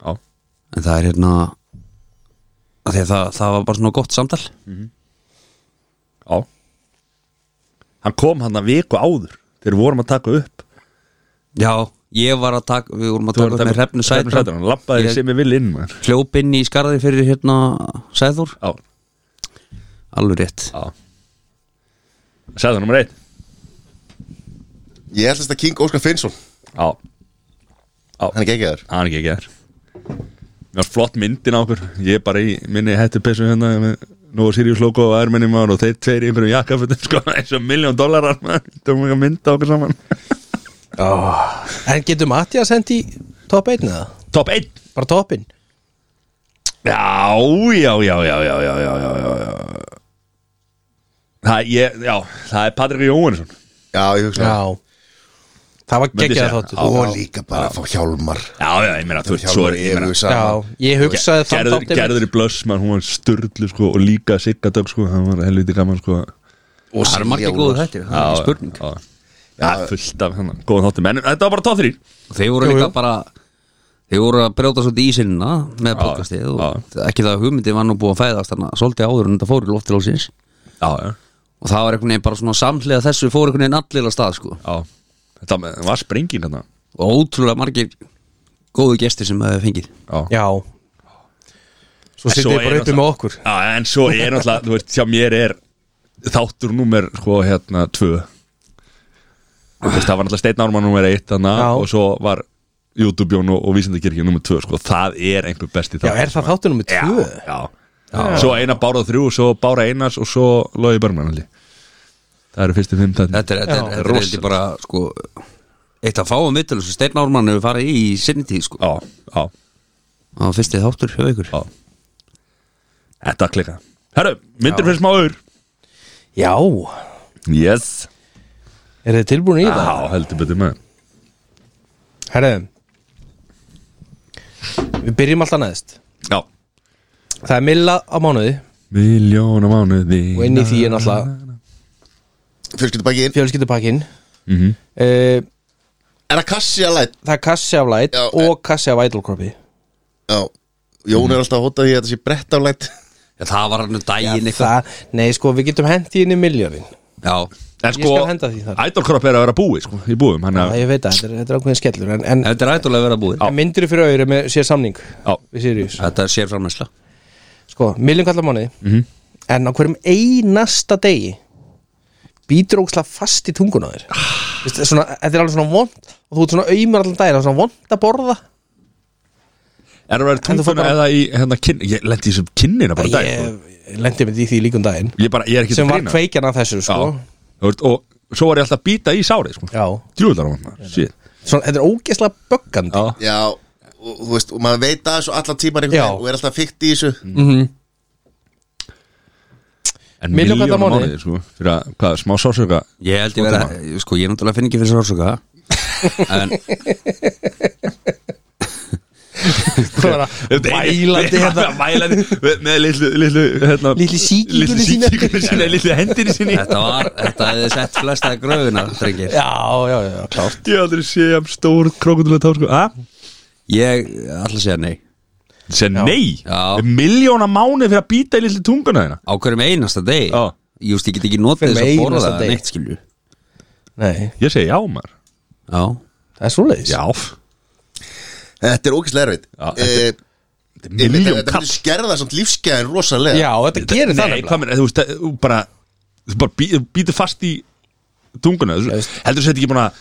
S1: Já,
S3: En það er hérna af því að það, það var bara svona gott samtal
S1: já Hann kom hann að viku áður Þegar við vorum að taka upp
S3: Já, ég var að taka, við vorum að
S1: Þú voru
S3: taka
S1: að
S3: upp með
S1: taka
S3: hrefnu sætra
S1: Hann lappaði
S3: Ég-
S1: sem við vil inn maður
S3: Hljóp inn í skarði fyrir hérna Sæður,
S1: Já,
S3: alveg rétt
S1: já Sæður nummer eitt
S4: Ég ætlast að King Óskar Finnsson
S1: Já,
S4: Hann er geggiðar
S1: hann er ekki ekki þær Mér var flott myndin á okkur Ég er bara í minni hættupessu hérna með Nú og Sirius logo og ærminni maður og þeir tveir í einhverjum jakkafutum sko eins og miljón dólarar maður Það var mjög að mynda okkur saman
S2: En getur Mattias hendi í top 1 eða?
S1: Top 1
S2: Bara topin?
S1: Já, já, já, já, já, já, já, já, já, já. Það, ég, já, það er Patrik Jóhannesson
S4: Já, ég hugsa
S2: Já Það var
S1: Myndi
S2: geggjað
S1: segja,
S2: þáttur
S4: Og líka bara að fá hjálmar
S1: Já, já, ég meina, þú veist, svo
S4: Hjálmar
S1: er, ég meina
S4: Evu
S2: Já,
S4: saman
S2: ég hugsaði þann
S1: Gerður,
S2: þáttir
S1: gerður í blöss, mann, hún var sturdlu sko og líka siggadögg sko, hann var helviti gaman sko
S4: Og
S3: Það eru margir
S4: Silja
S3: góðu
S4: Úlfars.
S3: þættir, það er ekki spurning
S1: Já, já, fullt af hann, góðan þáttum En þetta var bara tóð þrýr
S3: Þeir voru
S2: Jú,
S3: líka
S2: jú.
S3: bara Þeir voru að brjóta svolítið í sinna með podcastið og ekki það að hugmyndið var nú búið að fæðast þarna svolítið áður en þetta fór í loftilósins
S1: Já, já,
S3: og það var einhvern veginn bara svona samhlega þessu fór einhvern veginn allir að stað sko
S1: já Þetta var springin hérna
S3: og ótrúlega margir góðu gestir sem hefði fengið
S2: Já Svo sittum
S1: svo
S2: við bara
S1: er
S2: uppi með okkur
S1: Já, en svo er náttúrulega, þú veist, hjá mér er þáttur númer, sko, hérna, tvö Þú veist, það var náttúrulega Steinn Ármann númer eitt hana,
S2: Já.
S1: og svo var YouTube-jón og, og Vísindakirkja númer tvö, sko, það er einhver besti
S2: Já,
S1: þáttur
S2: er það þáttur nummer 2?
S1: Já, já, Svo eina bára þrjú, svo bára einars og svo logi börnmann allir Það eru fyrstu fimm tætni
S3: Þetta er, þetta er, þetta er
S1: rosa.
S3: eitthvað bara sko eitt að fáum vittul sem Steinn Ármann hefur farið í í sinni tíð sko
S1: Já, já,
S3: á fyrsti þáttur hjá ykkur
S1: já Þetta klika Herru, myndir fyrir smá auður
S2: Já,
S1: Yes
S2: er þið tilbúin í það?
S1: Já, heldur betur með
S2: Herðu Við byrjum alltaf næðist
S1: Já
S2: Það er milla á mánuði
S1: Miljóna mánuði
S2: og inn í því er
S1: Mm-hmm.
S2: náttúrulega
S4: Fjölskyldubakkin
S2: fjölskyldupakkin
S1: mm -hmm.
S2: uh,
S4: Er það kassi að læt?
S2: Það er kassi af light
S4: Já,
S2: og kassi af idolkroppi
S4: Já Jón er alltaf að hóta því að þetta sé brett af læt
S3: Já, það var hann um daginn eitthvað
S2: það, Nei, sko, við getum hent í henni miljónin
S3: Já,
S1: En
S2: Ég
S1: sko,
S2: skal henda því þar.
S1: Idolkropp er að vera búið sko, í búum hann
S2: Það
S1: að
S2: ég veit að þetta er, þetta er ákveðin skellur En, en,
S3: þetta er ætlulega að vera búið
S2: en myndir fyrir auðvitað með sér samning
S1: Já.
S2: Við Sirius
S3: Þetta er sér framlæsla
S2: Sko, miljón kallar mánuði
S1: Mhm.
S2: En á hverjum einasta degi Býtur óksla fast í tungun á þér
S1: Ah.
S2: Vist, svona, Þetta er alveg svona vond Og þú ert svona auðmur allan daginn Það er svona vond að borða
S1: Er að vera
S2: En þú fór
S1: tunguna
S2: bara-
S1: eða í hérna kinn Ég lendi í þessum kinnina bara í dag sko.
S2: Ég lendi með því líkum daginn
S1: Ég bara, ég er ekki
S2: Sem
S1: að
S2: var
S1: grína.
S2: kveikjan af þessu, sko
S1: Já. Þú veist, Og svo var ég alltaf að býta í sárið sko.
S2: Já,
S1: Djúðlar á hann Shit
S2: svona, þetta er ógeðslega böggandi
S1: Já.
S4: Já og, Þú veist, og maður veit að þessu allan tíman einhvern
S2: Já. Mm.
S4: veginn Og er alltaf fikt í þessu
S1: En
S2: Milljón kallar
S1: miljóna
S2: mánuði.
S1: mánuði sko, Fyrir að, hvað, smá sársöka
S3: Ég held ég vera, sko, ég er náttúrulega finn ekki fyrir sársöka En
S2: Mælandi hérna
S1: Mælandi með- Með litlu Litlu, hérna,
S2: Litlu sýkingunni
S1: litlu
S2: sína.
S1: sýkingunni sína Litlu hendinni sína
S3: þetta var, þetta hefði sett flesta í gröfuna, drengir
S2: Já, já, já, klárt
S1: Ég hef aldrei sé að stór krokundulega tá sko. ah?
S3: Ég ætla að segja nei
S1: Sér nei
S3: Já.
S1: Miljóna mánuði fyrir að býta í litlu tunguna hérna. þeirna
S3: Á hverjum einasta deg
S1: Já.
S3: Ég veist, ég get ekki
S2: Hverjum
S3: notið þess að borða
S2: einasta
S3: það
S2: degi.
S3: neitt, skilju
S2: Nei,
S1: Ég segi já maður
S3: Já,
S2: það er svoleiðis
S4: Þetta er ógæslega erfitt
S1: Já,
S4: Eh,
S1: þetta-
S4: ég veit að
S1: Miljón
S4: Þetta
S1: kall
S4: myndi skerða samt lífsgæðin rosalega
S2: Já, þetta gerir það
S1: Nei,
S2: nefnilega.
S1: hvað meina, þú veist, þú bara Þú bara bí, þú býtur fast í tunguna þú- Heldur þú þetta ekki búin að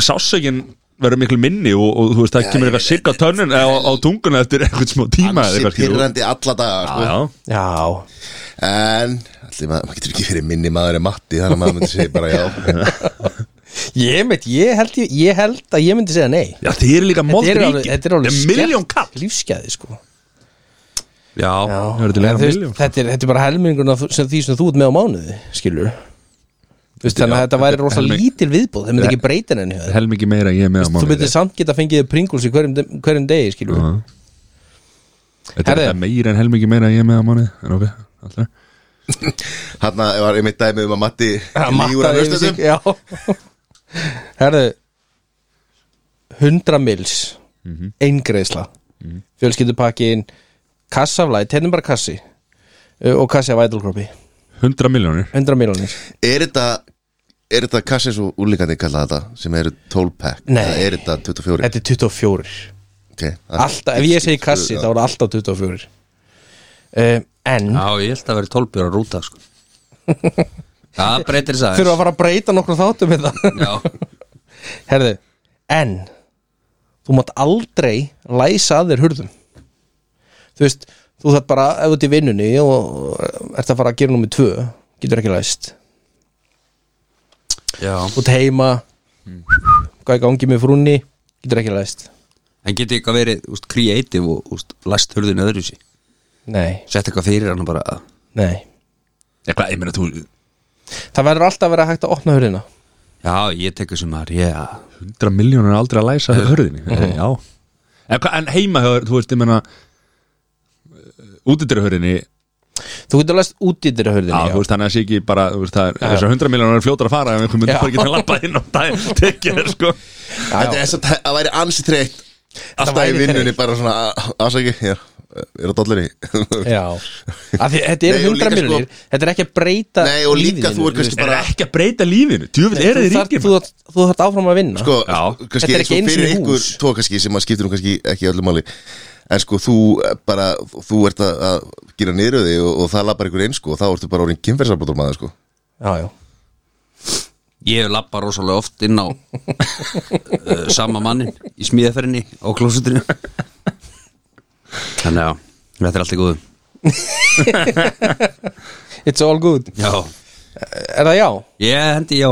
S1: Sásögin verður miklu minni Og, og þú veist, það kemur eitthvað sigg á tönnun Eða á, á tunguna eftir eitthvað smá tíma eða
S4: Ansi
S1: eitthvað, skilur þú?
S4: pyrrandi alla daga sko.
S1: Já, já.
S2: Já,
S4: En, allir maður, maður getur ekki fyrir minni maður en Matti Þannig að maður myndi segja bara já
S2: ég veit, ég held, ég, ég held að ég myndi segja nei
S1: já þið eru líka
S2: Þetta
S1: mold
S2: er
S1: ríki
S2: alveg, þetta er alveg
S1: miljón kall
S2: Lífsgæði, sko
S3: já,
S2: Já,
S1: Það er til að
S2: en
S1: leiða
S2: þú veist,
S1: milljón, sko.
S2: þetta, er, þetta er bara helmingurinn af þú- sem því sem þú ert með á mánuði skilur þú veist, þannig að
S1: já,
S2: þetta væri
S1: þetta er
S2: rosa
S1: helming-
S2: lítil viðbúð það myndi ekki breyta henni hjá þér.
S1: Helmingi meira en ég er með á
S2: þú
S1: mánuði
S2: myndir samt geta fengið pringuls í hverjum, de- hverjum degi skilur
S1: Já. Þetta er
S2: Herðu.
S1: þetta meira en helmingi meira en ég er með á mánuði En ok, alltaf
S4: Þarna var einmitt dæmi um að Matti
S2: Það
S4: Lígur að
S2: mattaði yfir sig,
S4: hlustum
S2: já herðu 100 mils eingreisla fjölskyldupakkin kassaflæt, hérna er bara kassi ö, og kassi af ædolkropi
S1: 100 miljónir
S2: 100 miljonir
S4: Er þetta Er þetta kassi svo úlíkandi kallað þetta sem eru 12 pack
S2: Nei.
S4: Eða Er þetta 24
S2: þetta er 24
S4: okay.
S2: alltaf, ef ég segi kassi þá er það alltaf 24 uh, en
S3: já, ég held að vera tólbjör að rúta, sko Það breytir
S2: þurfum
S3: þess aðeins
S2: að fara að breyta nokkru þáttum hérna? við það
S3: Já,
S2: herðu, en þú mátt aldrei læsa að þér hurðum þú veist, þú þarf bara ef þú ert í vinnunni og ert að fara að gera nummer tvö, getur ekki læst
S3: já
S2: út heima hvað er gangi með frúnni getur ekki læst,
S3: En geti eitthvað verið, úst, creative og úst, læst hurðin öðru sér
S2: nei,
S3: Sett eitthvað fyrir hann og bara
S2: nei
S1: Eitthvað, ég meina, þú
S2: það verður alltaf að vera hægt að opna hurðina
S3: Já, ég tekur sem maður, já
S1: 100 miljónir er aldrei að læsa hörðinni Eh, Já En, hva, en heima, hefur- þú veist, ég meina Útidur hörðinni
S2: þú getur læst út í þeirra
S1: Já,
S2: hurðinni
S1: þú veist, þannig að sé ekki bara þú veist, það er- Þessar 100 miljónir er fljótar að fara Ef einhver myndir
S2: Já.
S1: bara ekki að lappa inn og dæ, tekja þér, sko
S4: Þetta er samt- það væri ansi treytt Alltaf í
S2: væri
S4: vinnunni
S2: þreytt.
S4: bara svona a- Afsaki, ég er- er á dollinni
S2: Já, af því þetta eru
S4: Nei, og líka sko-
S2: 100 miljonir Þetta er ekki að breyta
S4: Nei, og líka þú er kannski
S1: Er
S4: bara
S1: ekki að breyta lífinu, djúvill er þið ríkir
S2: Þú þarft- þú þarft áfram að vinna
S4: sko,
S1: Já.
S4: kannski,
S2: Þetta er ekki
S4: sko,
S2: einu
S4: fyrir
S2: sinni
S4: ykkur
S2: hús.
S4: tvo kannski sem að skiptir um kannski ekki öllu máli en sko þú eh, bara þú ert að, að gera niður þig og, og það lappar ykkur eins sko og þá ertu bara orðin kynferðsarbrotum maður sko
S2: Já, já
S3: Ég lappa rosalega oft inn á uh, sama mannin í smíðaferðinni á klósutinu Þannig að þetta er allt í góðu
S2: It's all good
S3: Já,
S2: Er það já?
S3: ég hendi já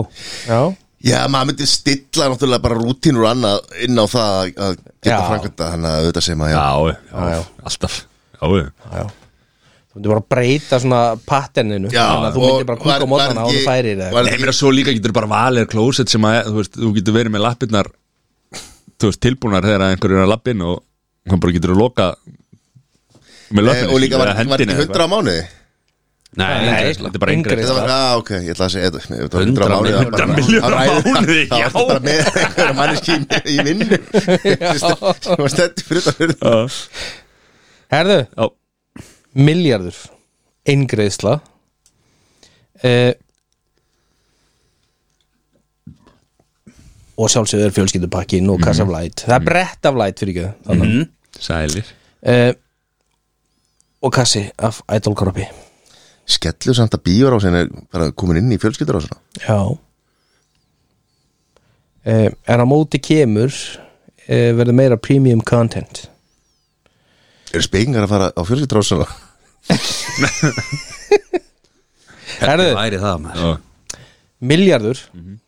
S2: Já
S4: Já, maður myndi stilla náttúrulega bara rútínur og annað inn á það að- að geta
S2: Já.
S4: framkvæmta hann að auðvitað sem að já,
S1: Já, já,
S2: Já, já.
S1: alltaf Já, já.
S2: Já. þú myndir bara breyta svona patterninu
S4: Já,
S2: þannig að þú myndir bara
S4: og
S2: kúka á
S4: var- var
S2: mótana og þú
S4: ekki-
S2: færir það
S4: var-
S1: Nei, mér svo líka getur bara valið klósett sem að, þú veist, þú getur verið með lappirnar þú veist, tilbúnar þegar einhverjur er að lappin og hann bara getur að loka með
S4: Eh,
S1: lappinu
S4: og líka var, var ekki 100 á mánuði
S3: Nei,
S1: Þetta er bara yngri
S4: Þetta var, á, ok, ég ætla að segja þetta- þetta var 100 á
S3: 100
S4: mánuði það var bara-
S1: 100 milljónir á
S4: það ræði-
S1: mánuði,
S4: Það
S1: já.
S4: var bara með einhverja manneski í vinnu Það var stætti fyrir þetta
S2: Herðu,
S1: Já,
S2: miljardur eingreðsla uh, og sjálfsögur fjölskyldupakkin og kassaflæt það er brett af læt fyrir ekki þannig
S1: sælir
S2: uh, og kassi af idolkroppi
S4: Skellu samt að bíórásin er bara komin inn í fjölskyldur á svona
S2: já uh, en á móti kemur uh, verður meira premium content
S4: Eru spekingar að fara á fjölskyldur á svona?
S2: Herðu,
S3: væri það maður
S2: miljardur mm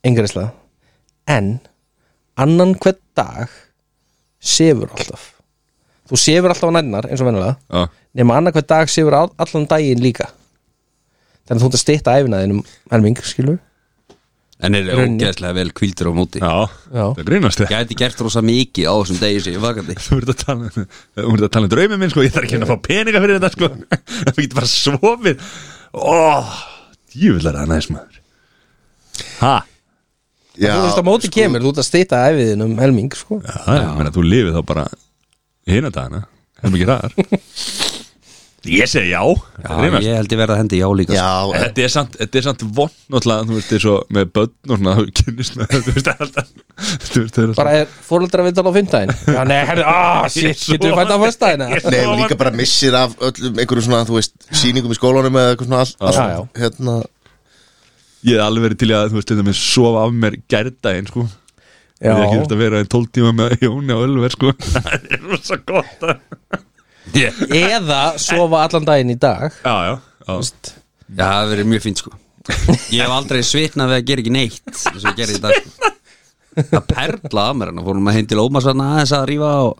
S1: Mhm.
S2: en annan hvern dag sefur alltaf þú sefur alltaf á nærnar eins og venjulega
S1: Já,
S2: nema annan hvern dag sefur all- allan daginn líka þannig að þú ert að stytta æfina þínum helming skilur
S3: En er
S2: Runni.
S3: ógeðslega vel kvildur á móti
S1: já,
S2: Já.
S1: það grínast
S3: Ég
S1: þig
S3: gæti gert rosa mikið á þessum degi sem ég vakandi
S1: Þú ert að tala, þú ert að tala um draumi minn sko, ég þarf ekki að fá peninga fyrir þetta sko Það getur bara sofið Ó, djúvillar að næs maður Ha,
S4: Já, Sko,
S2: þú veist að móti kemur, þú ert að stýta æfiðin um helming sko.
S1: sko. já, ég meina þú lifið þá bara hinna dagana, hefum ekki ræðar Ég segi já,
S3: Já,
S1: já grínast
S3: ég held ég verða að hendi já líka sko.
S4: Já,
S1: En Þetta er samt, þetta er samt vond náttúrulega, þú veist, eins og með börn og svona, þú kynnist með, þú veist, alltaf þú veist, það er
S2: bara er fóröldra viðtal á fymtæðin já nei, herri, ah, shit, getur við fætt á fyrstæðina
S4: Nei, og líka bara missir af öllum einhverjum svona, þú veist, sýningum í skólanum eða eitthvað svona allt,
S2: Já,
S4: allt
S2: já.
S4: hérna
S1: Ég hef alveg verið til í að, þú veist, þetta með sofa af mér gærdaginn, sko Ég er ekki þurft
S2: já,
S1: að vera í 12 tíma með Jóni og Ölver, sko Það er rosa gott að-
S2: eða sofa allan daginn í dag
S1: Já, já, já
S3: Já, það verið mjög fínt sko Ég hef aldrei svitnað við að gera ekki neitt eins og ég gerði í dag sko. Það perla að mér hann fórum að heim til Ómars hann aðeins að rífa og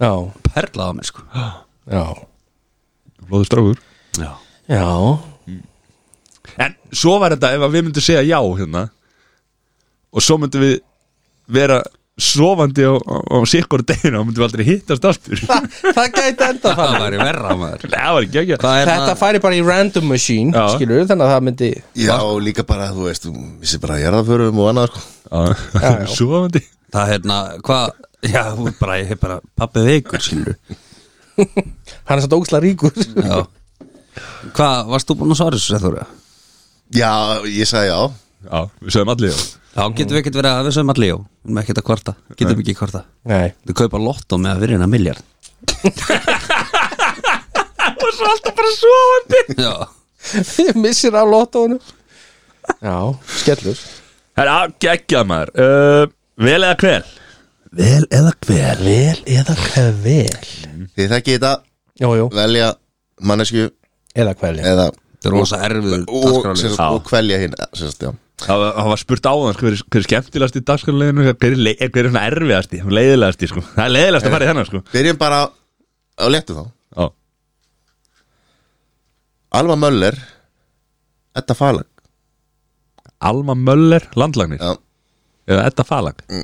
S2: já,
S3: perla að mér sko
S2: já,
S1: Blóður strákur
S3: Já,
S2: já
S1: En svo var þetta ef að við myndum segja já, hérna Og svo myndum við vera sofandi á, á, á sikkur deginu og myndum við aldrei hittast aftur
S2: Þa, það gæti enda
S3: það
S2: þannig
S3: væri verra maður
S1: Það var ekki ekki
S3: Hvað er
S2: þetta
S3: það?
S2: færi bara í random machine já.
S1: Já.
S2: skilur, þannig að það myndi
S4: Já, og líka bara, þú veist, þú missir bara jarðaförum og annað sko.
S2: Já, já.
S1: Sofandi
S3: Það hérna, hvað? Já, þú er bara, ég hef bara pappið veikur skilur
S2: hann er satt ógslag ríkur
S3: Já Hvað, varst þú búin að svara þessu, Sæþóra?
S4: Já, ég sagði já
S1: Já, við sögum allir já
S3: Já, getum við ekkert verið að við sögum allir, já Við erum ekkert að kvarta, getum ekki kvarta
S2: nei,
S3: Þau kaupa lottó með að virðina miljard Og svo alltaf bara svovandi
S2: missir af lottónu já, skellur
S1: Það er geggjað maður uh, Vel eða hver?
S2: vel eða hver vel eða hver vel
S4: Þið þekkið þetta,
S2: jú, jú,
S4: velja mannesku
S2: eða hver vel
S4: eða
S3: Það er rosa erfiður
S4: og,
S3: dagskráli.
S4: sem sagt,
S1: Já.
S4: og kvelja hinn sérst, já.
S1: Það var, það var spurt á þann sko, hver, er- hver er skemmtilegast í dagskarleginu hver, er lei- hver er svona erfiðast í, leiðilegast í sko. Það er leiðilegast að fara í þennan sko.
S4: Byrjum bara á léttu þá
S1: Já.
S4: Alma Möller Edda Falang
S1: Alma Möller, landlagnir
S4: Já.
S1: eða Edda Falag uh,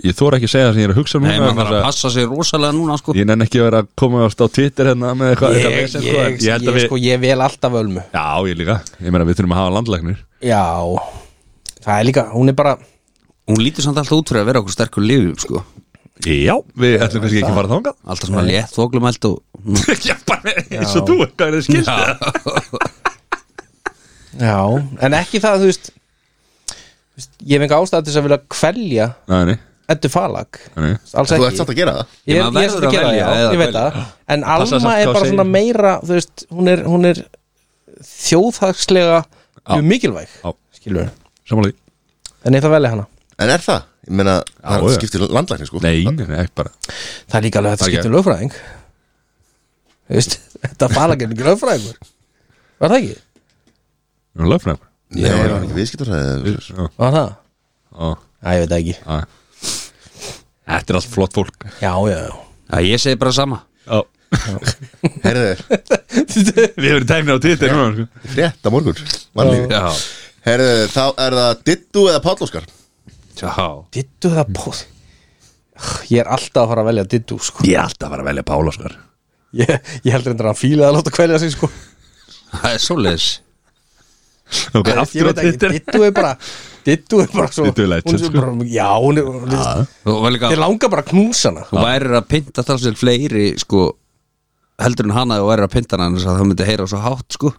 S1: Ég þóra ekki að segja það sem ég er að hugsa
S3: Nei,
S1: núna
S3: maður þarf
S1: vegna
S3: að
S1: þess
S3: passa sig rosalega núna sko
S1: að Ég nenn ekki að vera að koma ást á Twitter hérna með eitthvað
S2: ég,
S1: eitthvað
S2: ég,
S1: vesen, en
S2: ég, ég,
S1: held að við-
S2: sko, ég vel alltaf ölmu
S1: Já, ég líka, ég meina við þurfum að hafa landlagnir
S2: já, það er líka, hún er bara
S3: Hún lítur samt alltaf út fyrir að vera okkur sterkur lífum sko
S1: Já, við ætlum kannski ekki að fara þangað
S3: Alltaf svona létt, þoklumælt og
S1: Já, bara eins og þú, hvað er þið skilt það?
S2: Já, en ekki það, þú veist, þú veist Ég hef enga ástæða til þess að vilja kvelja
S1: Nei, nei,
S2: Eddu Falag
S1: nei
S2: Alls
S4: Þú
S2: ekki
S4: ert samt að gera það
S2: Ég
S3: Ég
S2: er,
S3: maður
S2: ég er
S3: verður
S2: að
S3: að
S2: gera
S3: velja
S2: það, já,
S3: eða
S2: ég veit
S3: kvelja.
S2: það En
S1: Passa
S2: Alma
S1: samt
S2: er
S1: hvað
S2: bara
S1: segir.
S2: svona meira Þú veist, hún er, hún er þjóðhagslega mjög mikilvæg
S1: Já.
S2: Skilur
S1: Samanlega
S2: En ég ætla að velja hana
S4: En er það? Ég meina, það
S1: já.
S4: skiptir landlækni sko
S1: Nei, nei, nei, ekki bara
S2: Það er líka alveg þetta
S1: Það er
S2: skiptum um lögfræðing Þú veist, Edda Falag er ekki um lögfræðingur Var það ekki?
S1: Við erum lögfræðingur
S4: Nei, það var ekki viðskiptarfræði
S2: Var það?
S1: Já,
S2: Æ, ég veit það ekki
S1: já Þetta er allt flott fólk
S2: Já, já, já
S3: Já, ég segi bara sama
S1: Já
S4: Herðu,
S1: Við erum tæknir á Twitter núna sko.
S4: frétt á morgun Mannlífi
S3: Já,
S4: Herðu, þá er það Dittu eða Pállóskar
S3: já
S2: Dittu það bóð Ég er alltaf að fara að velja Dittu sko
S1: Ég er alltaf að fara að velja Pála sko. skar
S2: Ég, ég heldur endur að hann fílaði að láta kvelja sig sko
S3: Það er svoleiðis
S1: Ok,
S2: Ég
S1: aftur á
S2: veit ekki,
S1: Twitter
S2: Dittu er bara Dittu er bara svo
S1: Diddu er legend,
S2: hún er
S1: sko.
S2: bara, Já, hún er, hún er
S3: Þú var líka
S2: Þeir langar bara að knúsa hana
S3: Þú værir að pinta talsveit fleiri sko heldur en hana þú værir að pinta hana þannig að það myndi heyra svo hátt sko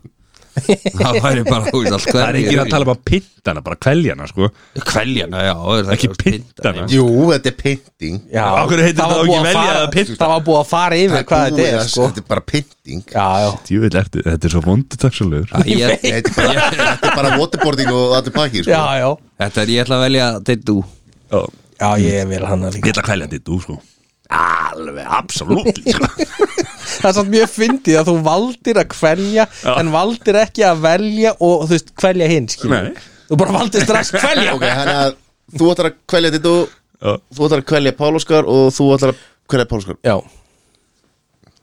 S3: Það væri bara þú veist allt
S1: Það er ekki að tala um bara pintana, bara kveljana sko
S3: Kveljana, já er það
S1: Ekki
S3: þú veist,
S1: pintana
S4: Jú, þetta er pynting
S2: Já,
S1: Af hverju heitir þetta
S2: það var
S1: þá
S2: búið
S1: ekki velja
S2: fara-
S1: eða pynta?
S2: Það var búið að fara yfir hvað þetta er sko
S4: Þetta er bara pynting
S2: Já, já
S1: Djúvill ertu, þetta er svo vondu taksulegur
S3: Æ, ég-
S4: Nei, Þetta er bara, þetta er bara waterboarding og allir pakki sko.
S2: Já, já
S3: Þetta er ég ætla að velja Dittu
S1: Ég
S2: Já, ég vil hana líka
S1: ætla að kvelja dittu sko Alveg, absolutt sko.
S2: Það er samt mjög fyndið að þú valdir að kvelja En valdir ekki að velja Og þú veist, kvelja hinn, skilur
S1: Nei.
S2: Þú bara valdir strax kvelja
S4: Ok, hann að þú ætlar að kvelja Dittu
S1: Já.
S4: Þú ætlar að kvelja Pállóskar og þú ætlar að kvelja Pállóskar
S2: Já,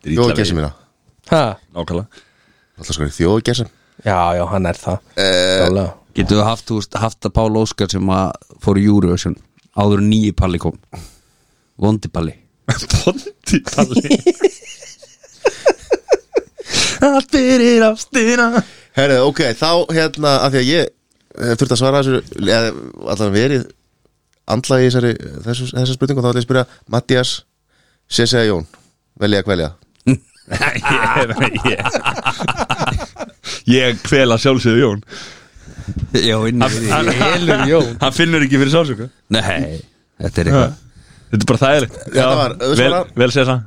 S4: Þjóðu gesa mína
S2: ha
S1: Nákvæmlega
S4: Alltaf sko þjóðu gesa
S2: Já, já, hann er það
S1: Eh,
S2: Klálega.
S3: Getur við haft, þú veist, haft að Pála Óskar sem að fór í Eurovision áður en nýji palli kom Vondi palli
S1: Bondi talli Allt fyrir ástina
S4: Herðu, ok, þá hérna af því að ég uh, þurft að svara þessu eða allavega verið andlaði í þessari, þessu, þessu spurningu og þá ætla ég að spyrja Mattias, Sessi eða Jón velja að kvelja
S1: Ég- Ég Ég kvela sjálfsögðu Jón
S3: Já, inn í
S1: Hann-
S3: því
S2: Elur Jón
S1: Hann finnur ekki fyrir sálsöku
S3: Nei, þetta er eitthvað
S1: Þetta er bara þægilegt Já,
S4: var
S1: Vel,
S4: auðsvarað.
S1: vel sér það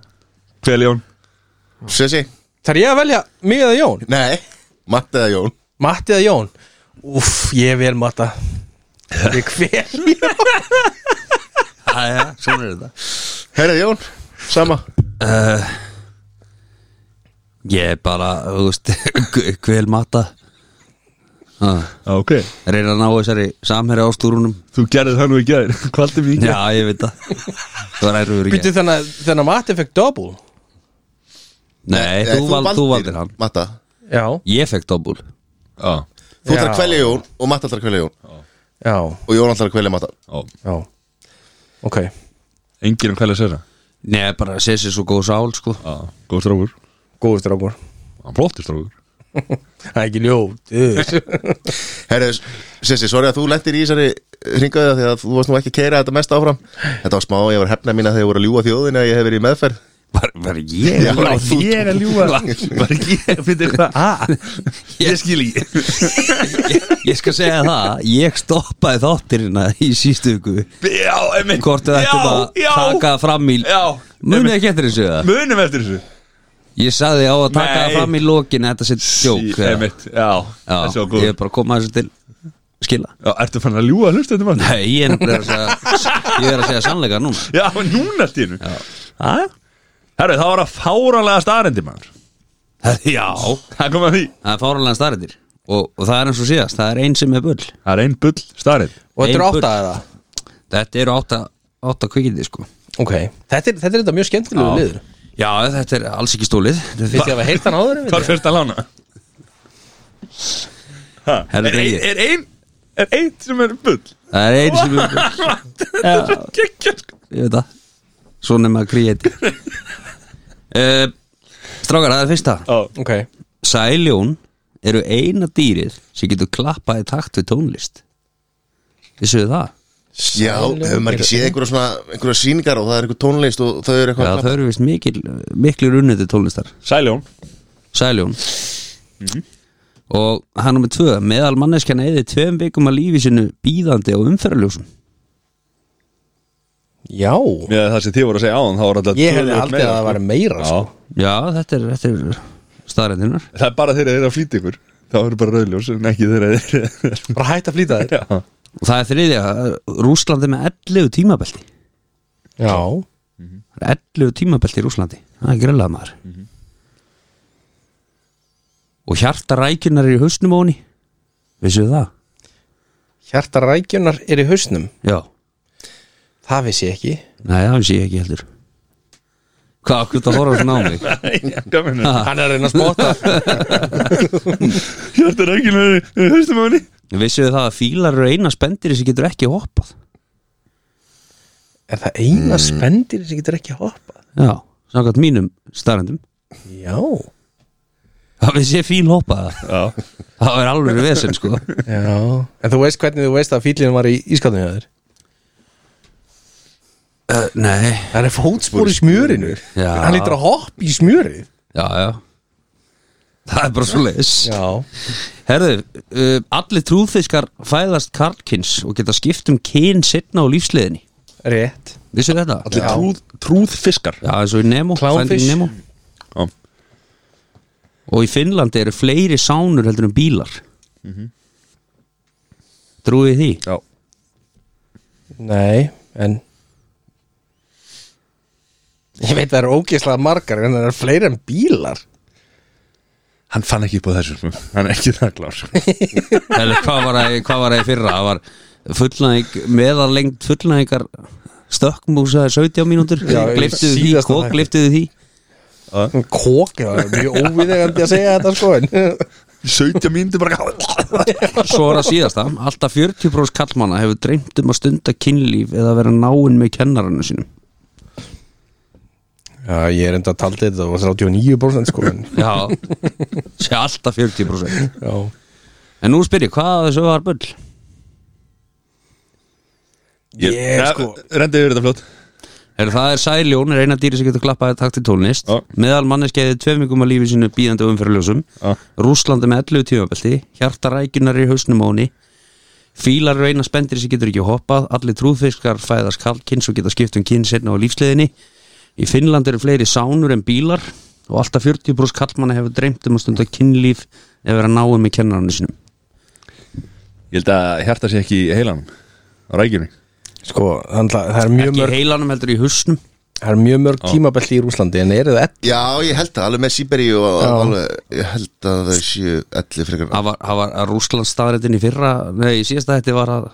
S1: Hvel Jón
S4: Sessi?
S2: Þar ég að velja mig eða Jón?
S4: Nei Matti eða Jón
S2: Matti eða Jón? Úff, ég vel Matta Ég kvel
S3: Æja, svona er þetta
S4: Herðu Jón, sama
S3: Ég er bara, þú veist, kvel matta Ha,
S1: Ok
S3: Reyna að ná þessari samherja ástúrunum
S1: Þú gerðið það nú ekki aðeins Kvaldi mikið
S3: Já, ég veit það Það var ærður
S2: Býttu
S3: ekki
S2: þannig að- þannig að Matti fekk double
S4: eh,
S3: Nei, þú, val, þú valdir hann
S4: Matta
S2: Já,
S3: Ég fekk dobbul
S1: Já
S4: Þú ætlar
S2: Já.
S4: að kvelja Jón og Matti ætlar að kvelja Jón
S2: já,
S4: og Jón ætlar að kvelja Matta
S1: Já
S2: já Ok
S1: Engir um hvel sér það
S3: Nei, bara sé sér svo góð sál, sko
S1: Já Góð strákur
S2: Góður strákur
S1: Hann flóttir strákur
S2: Það er ekki ljóð
S4: Herðu, Sessi, sorry að þú lendir í þessari ringaðu því að þú varst nú ekki að keira þetta mest áfram Þetta var smá, ég var hefna mín að þegar voru að ljúga þjóðin að ég hef verið í meðferð
S3: Var, var ég
S4: Já,
S3: var þú-
S1: ég að ljúga Var ekki að finna eitthvað að Ég skil í
S3: ég, ég skal segja það Ég stoppaði þáttirina í sístu viku
S1: Já, emitt
S3: Hvort þau ættum að taka fram í
S1: Já
S3: Munið ekki eftir þessu það
S1: Munum eftir þessu
S3: Ég sagði á að taka
S1: Nei.
S3: það fram í lokin að Þetta sitt sjók
S1: Í- Einmitt, já,
S3: Já,
S1: Þessi var góð
S3: ég er bara að koma þessu til skila
S1: Já, Ertu fann að ljúga hlustu þetta mann?
S3: Nei, ég er nefnilega að segja Ég er að segja sannleika núna
S1: Já, núna allt í hennu Herru, það var að fáralega starendi maður
S3: Það- Já,
S1: Það kom að því
S3: það er fáranlega starrendir og, og það er eins og síðast, það er einn sem er bull
S1: Það er einn bull starend
S2: Og þetta er
S3: Ein
S2: átta
S3: bull.
S2: eða
S3: Þetta eru átta, átta kvikindi sko
S2: Ok, þetta er þetta, er þetta mjög skemmtilegu liður
S3: Já, þetta er alls ekki stólið Þetta er
S2: Við
S3: fyrst-
S2: þið hafa heyrt hann áður einmitt?
S1: Hvað er fyrst að lána? Ha,
S3: Herra,
S1: er, ein,
S3: ég-
S1: er ein Er einn sem er bull
S3: Það er einn sem er bull
S1: Það er gekkja sko
S3: Ég veit það Svo nema kríeti uh, Strákar, það er fyrsta
S1: Já,
S2: Ok,
S3: Sæljón eru eina dýrið sem getur klappað í takt við tónlist Vissu þið það?
S4: Já, hefur maður ekki séð einhverja svona einhverja sýningar og það er einhver tónlist og þau eru
S3: Já,
S4: eitthvað
S3: það eru vist mikil, miklu runniti tónlistar
S1: Sæljón
S3: Sæljón og hann nummer tvö meðal manneskjana eði tveim vikum að lífi sinu býðandi og umferðaljósum
S2: já
S1: Já, það sem þið voru að segja áðan þá var alltaf
S2: Ég hefði
S1: töluvert
S2: haldið
S1: meira, sko.
S2: að það væri meira
S1: Já,
S2: sko.
S3: já þetta er, þetta er staðrendinar
S1: það er bara þeirra þeir eru að flýta ykkur Það eru bara rauðljós en ekki þeirra þeir
S2: Bara hætt að flýta þér
S1: Já,
S3: og það er þriðja, Rúslandi með 11 tímabelti
S2: Já,
S3: 11 tímabelti í Rúslandi það er grillað maður og hjarta rækjunar er í hausnum á henni vissu það?
S2: hjarta rækjunar er í hausnum
S3: Já,
S2: Það vissi ég ekki
S3: nei það sé ég ekki heldur Hvað, okkur þetta horfður svona á mig?
S1: Hjörtur
S2: Hann er að reyna að spotta
S1: er ekki með höstum á henni
S3: Vissuðu það að fílar eru eina spendir sem getur ekki hoppað
S2: Er það eina spendir sem getur ekki hoppað?
S3: Já, samkvæmt mínum starrendum
S2: Já
S3: Það vissi ég fíl hoppaða
S1: Já,
S3: Það er alveg vesinn sko
S2: Já En þú veist hvernig þú veist að fílinn var í ískatinu hjá þér?
S3: uh, Nei
S2: Það er fótspor í smjörinu
S3: Já.
S2: Hann lítur að hoppa í smjörið
S3: Já, já Það er bara svo leis
S2: Já
S3: Herðu, uh, allir trúfiskar fæðast karlkins og geta skipt um kyn setna á lífsliðinni
S2: Rétt
S3: Vissu þetta?
S1: allir trúð, trúðfiskar
S3: Já, eins og í Nemo
S2: Clownfish. Mm-hmm.
S3: Finding Nemo.
S1: Já.
S3: Og í Finnlandi eru fleiri sánur heldur en bílar mm
S2: Mm-hmm.
S3: Trúið því?
S1: Já,
S2: Nei, en Ég veit það eru ógeðslega margar en það eru fleiri en bílar
S1: hann fann ekki upp á þessu sko. Hann er ekki það klár sko.
S3: Eller hvað var það í- hvað var það í fyrra? Það var fullnæðing, meðarlengd fullnæðingar stökkmúsa 17 mínútur
S2: Já, í
S3: Gleiftuðu því,
S2: síðasta
S3: kók
S2: þætti.
S3: gleiftuðu því
S2: Kók, já, það er mjög óviðegandi að segja þetta sko en
S1: 17 mínútur bara
S3: Svo er það síðasta, alltaf 40% kallmanna hefur dreymt um að stunda kynlíf eða vera náinn með kennarannu sínum
S2: Já, ég er enda að taldi þetta og 39% sko en
S3: Já, sé alltaf 40%
S2: Já
S3: En nú spyr ég, hvað af þessu var bull?
S1: Ég,
S2: Ég, sko.
S1: Rendi yfir þetta fljótt
S3: Er það er sæljón, er eina dýri sem getur klappað takt í tónlist,
S1: Já.
S3: meðal manneskeiði tveimingum að lífi sínu býðandi og umfyrirljósum
S1: Já.
S3: Rússlandi með 11 tímabelti hjartarækjunar í hausnum áni fílar eru eina spendir sem getur ekki hoppað allir trúðfiskar fæðast kallkins og geta skipt um kyn setna á lífsliðinni í Finnland eru fleiri sánur en bílar og alltaf 40% kallmanna hefur dreymt um að stunda kynlíf eða vera náum með kennaranu um sínum
S1: Ég held að hjarta sé ekki í heilanum á rækjunni
S2: Sko, þannig að það er mjög
S3: ekki í
S2: mörg
S3: heilanum heldur í hausnum
S2: Það er mjög mörg tímabelti í Rúslandi en eru það ett
S4: Já, ég held það, alveg með Siberi og alveg, ég held að þau séu elli frekar
S3: það var, það var að Rússland staðrættin í fyrra nei, í síðasta þetta var að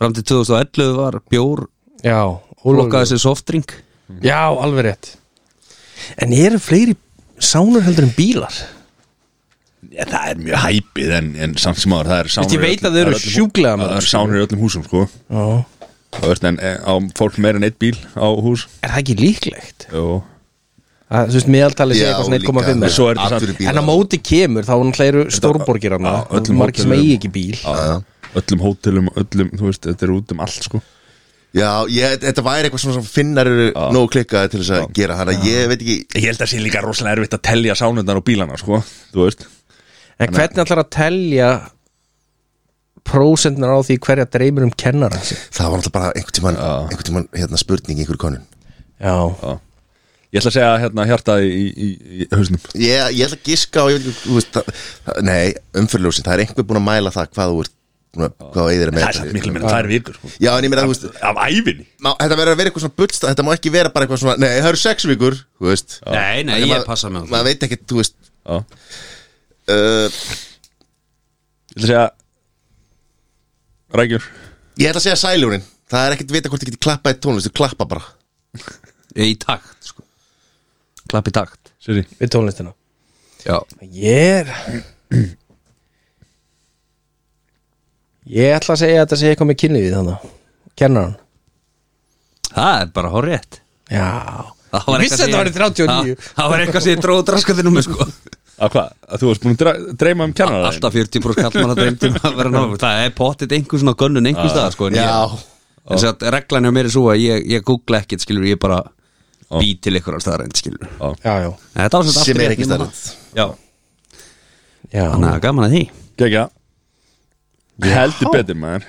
S3: fram til 2011 var bjór
S2: Já,
S3: lokkaði sér softdrink
S2: Já, alveg rétt En eru fleiri sánur heldur en bílar?
S1: Já, það er mjög hæpið en, en samt sem áður það er sánur
S2: Ég veit að þau eru sjúklega
S1: Það
S2: mörg,
S1: er sánur í öllum húsum sko
S2: Já
S1: Það veist en eh, á fólk meira en eitt bíl á hús
S2: Er það ekki líklegt?
S1: Jó
S2: að, þú veist, meðaltalið sé
S4: Já,
S2: eitthvað
S4: líka,
S2: svona 1,5
S1: En svo er þetta
S4: Allir
S1: samt
S4: bílar.
S2: en að móti kemur þá náttúrulega eru stórborgir hana
S1: á
S2: og
S1: öllum
S2: margir sem
S1: hótelum.
S2: eigi ekki bíl
S1: á, Öllum hótelum, öllum, þú veist, þetta er út um allt sko
S4: Já, ég, þetta væri eitthvað svona sem finnar eru nóg klikkaði til þess að gera hana Ég veit ekki,
S1: Ég held að sé líka rosalega erfitt að telja sánundar og bílana sko Þú veist
S2: en hvernig ætlar að telja prósentnar á því hverja dreymir um kennara sig
S4: það var náttúrulega bara einhvern tímann, einhvern tímann hérna, spurning í einhverjum konun
S2: já,
S1: Ég ætla að segja hérna hjartaði í, í, í hausnum
S4: Ég, ég ætla að giska á, ég veit ekki, þú veist það, það- Nei, umfyrirljósin, það er einhver búin að mæla það hvað þú ert, búin að- hvað þú eigðir að
S1: Það
S4: með
S1: er samt miklu meira tvær vikur sko
S4: Já, en ég meina, þú veist,
S1: Af æfinni
S4: má, þetta verður að vera eitthvað svona bullsta Þetta má ekki vera bara eitthvað svona, nei, það eru sex vikur Þú veist
S3: Nei, nei,
S4: Þannig
S3: ég
S4: maður-
S3: passa mig á það.
S4: Maður veit ekki, þú veist
S1: Já Ég ætla að
S4: uh,
S1: segja Rækjur
S4: Ég ætla að segja sæljónin Það er ekkert vita hvort þið getur klappað í tónlist Þú klappa bara
S3: í takt sko. klapp í takt
S1: Siri
S2: við tónlistina
S3: já.
S2: ég er ég ætla að segja að þetta sé eitthvað með kynlífið þannig kennaran
S3: það er bara hár rétt
S2: já,
S3: Það var
S2: ég vissi að
S3: eitthvað
S2: þetta var
S3: sem ég-
S2: 39
S3: Það- Það var eitthvað sem ég dróðu draskatinn um sko.
S1: Að hvað? Að þú varst búin að dra- dreyma um kennara
S3: Alltaf 40% kallmann að dreymdi um að vera náum Það er pottit einhver svona gönnun einhver stað sko, en ég- En svo að reglan hjá mér er svo að ég, ég googla ekkert skilur Ég bara bý til einhverjar staðar skilur
S2: já, já,
S3: En Þetta var sem
S4: Sem er ekki starrend
S3: Já,
S2: já.
S3: þannig að gaman að því
S1: Gekja Heldur betur maður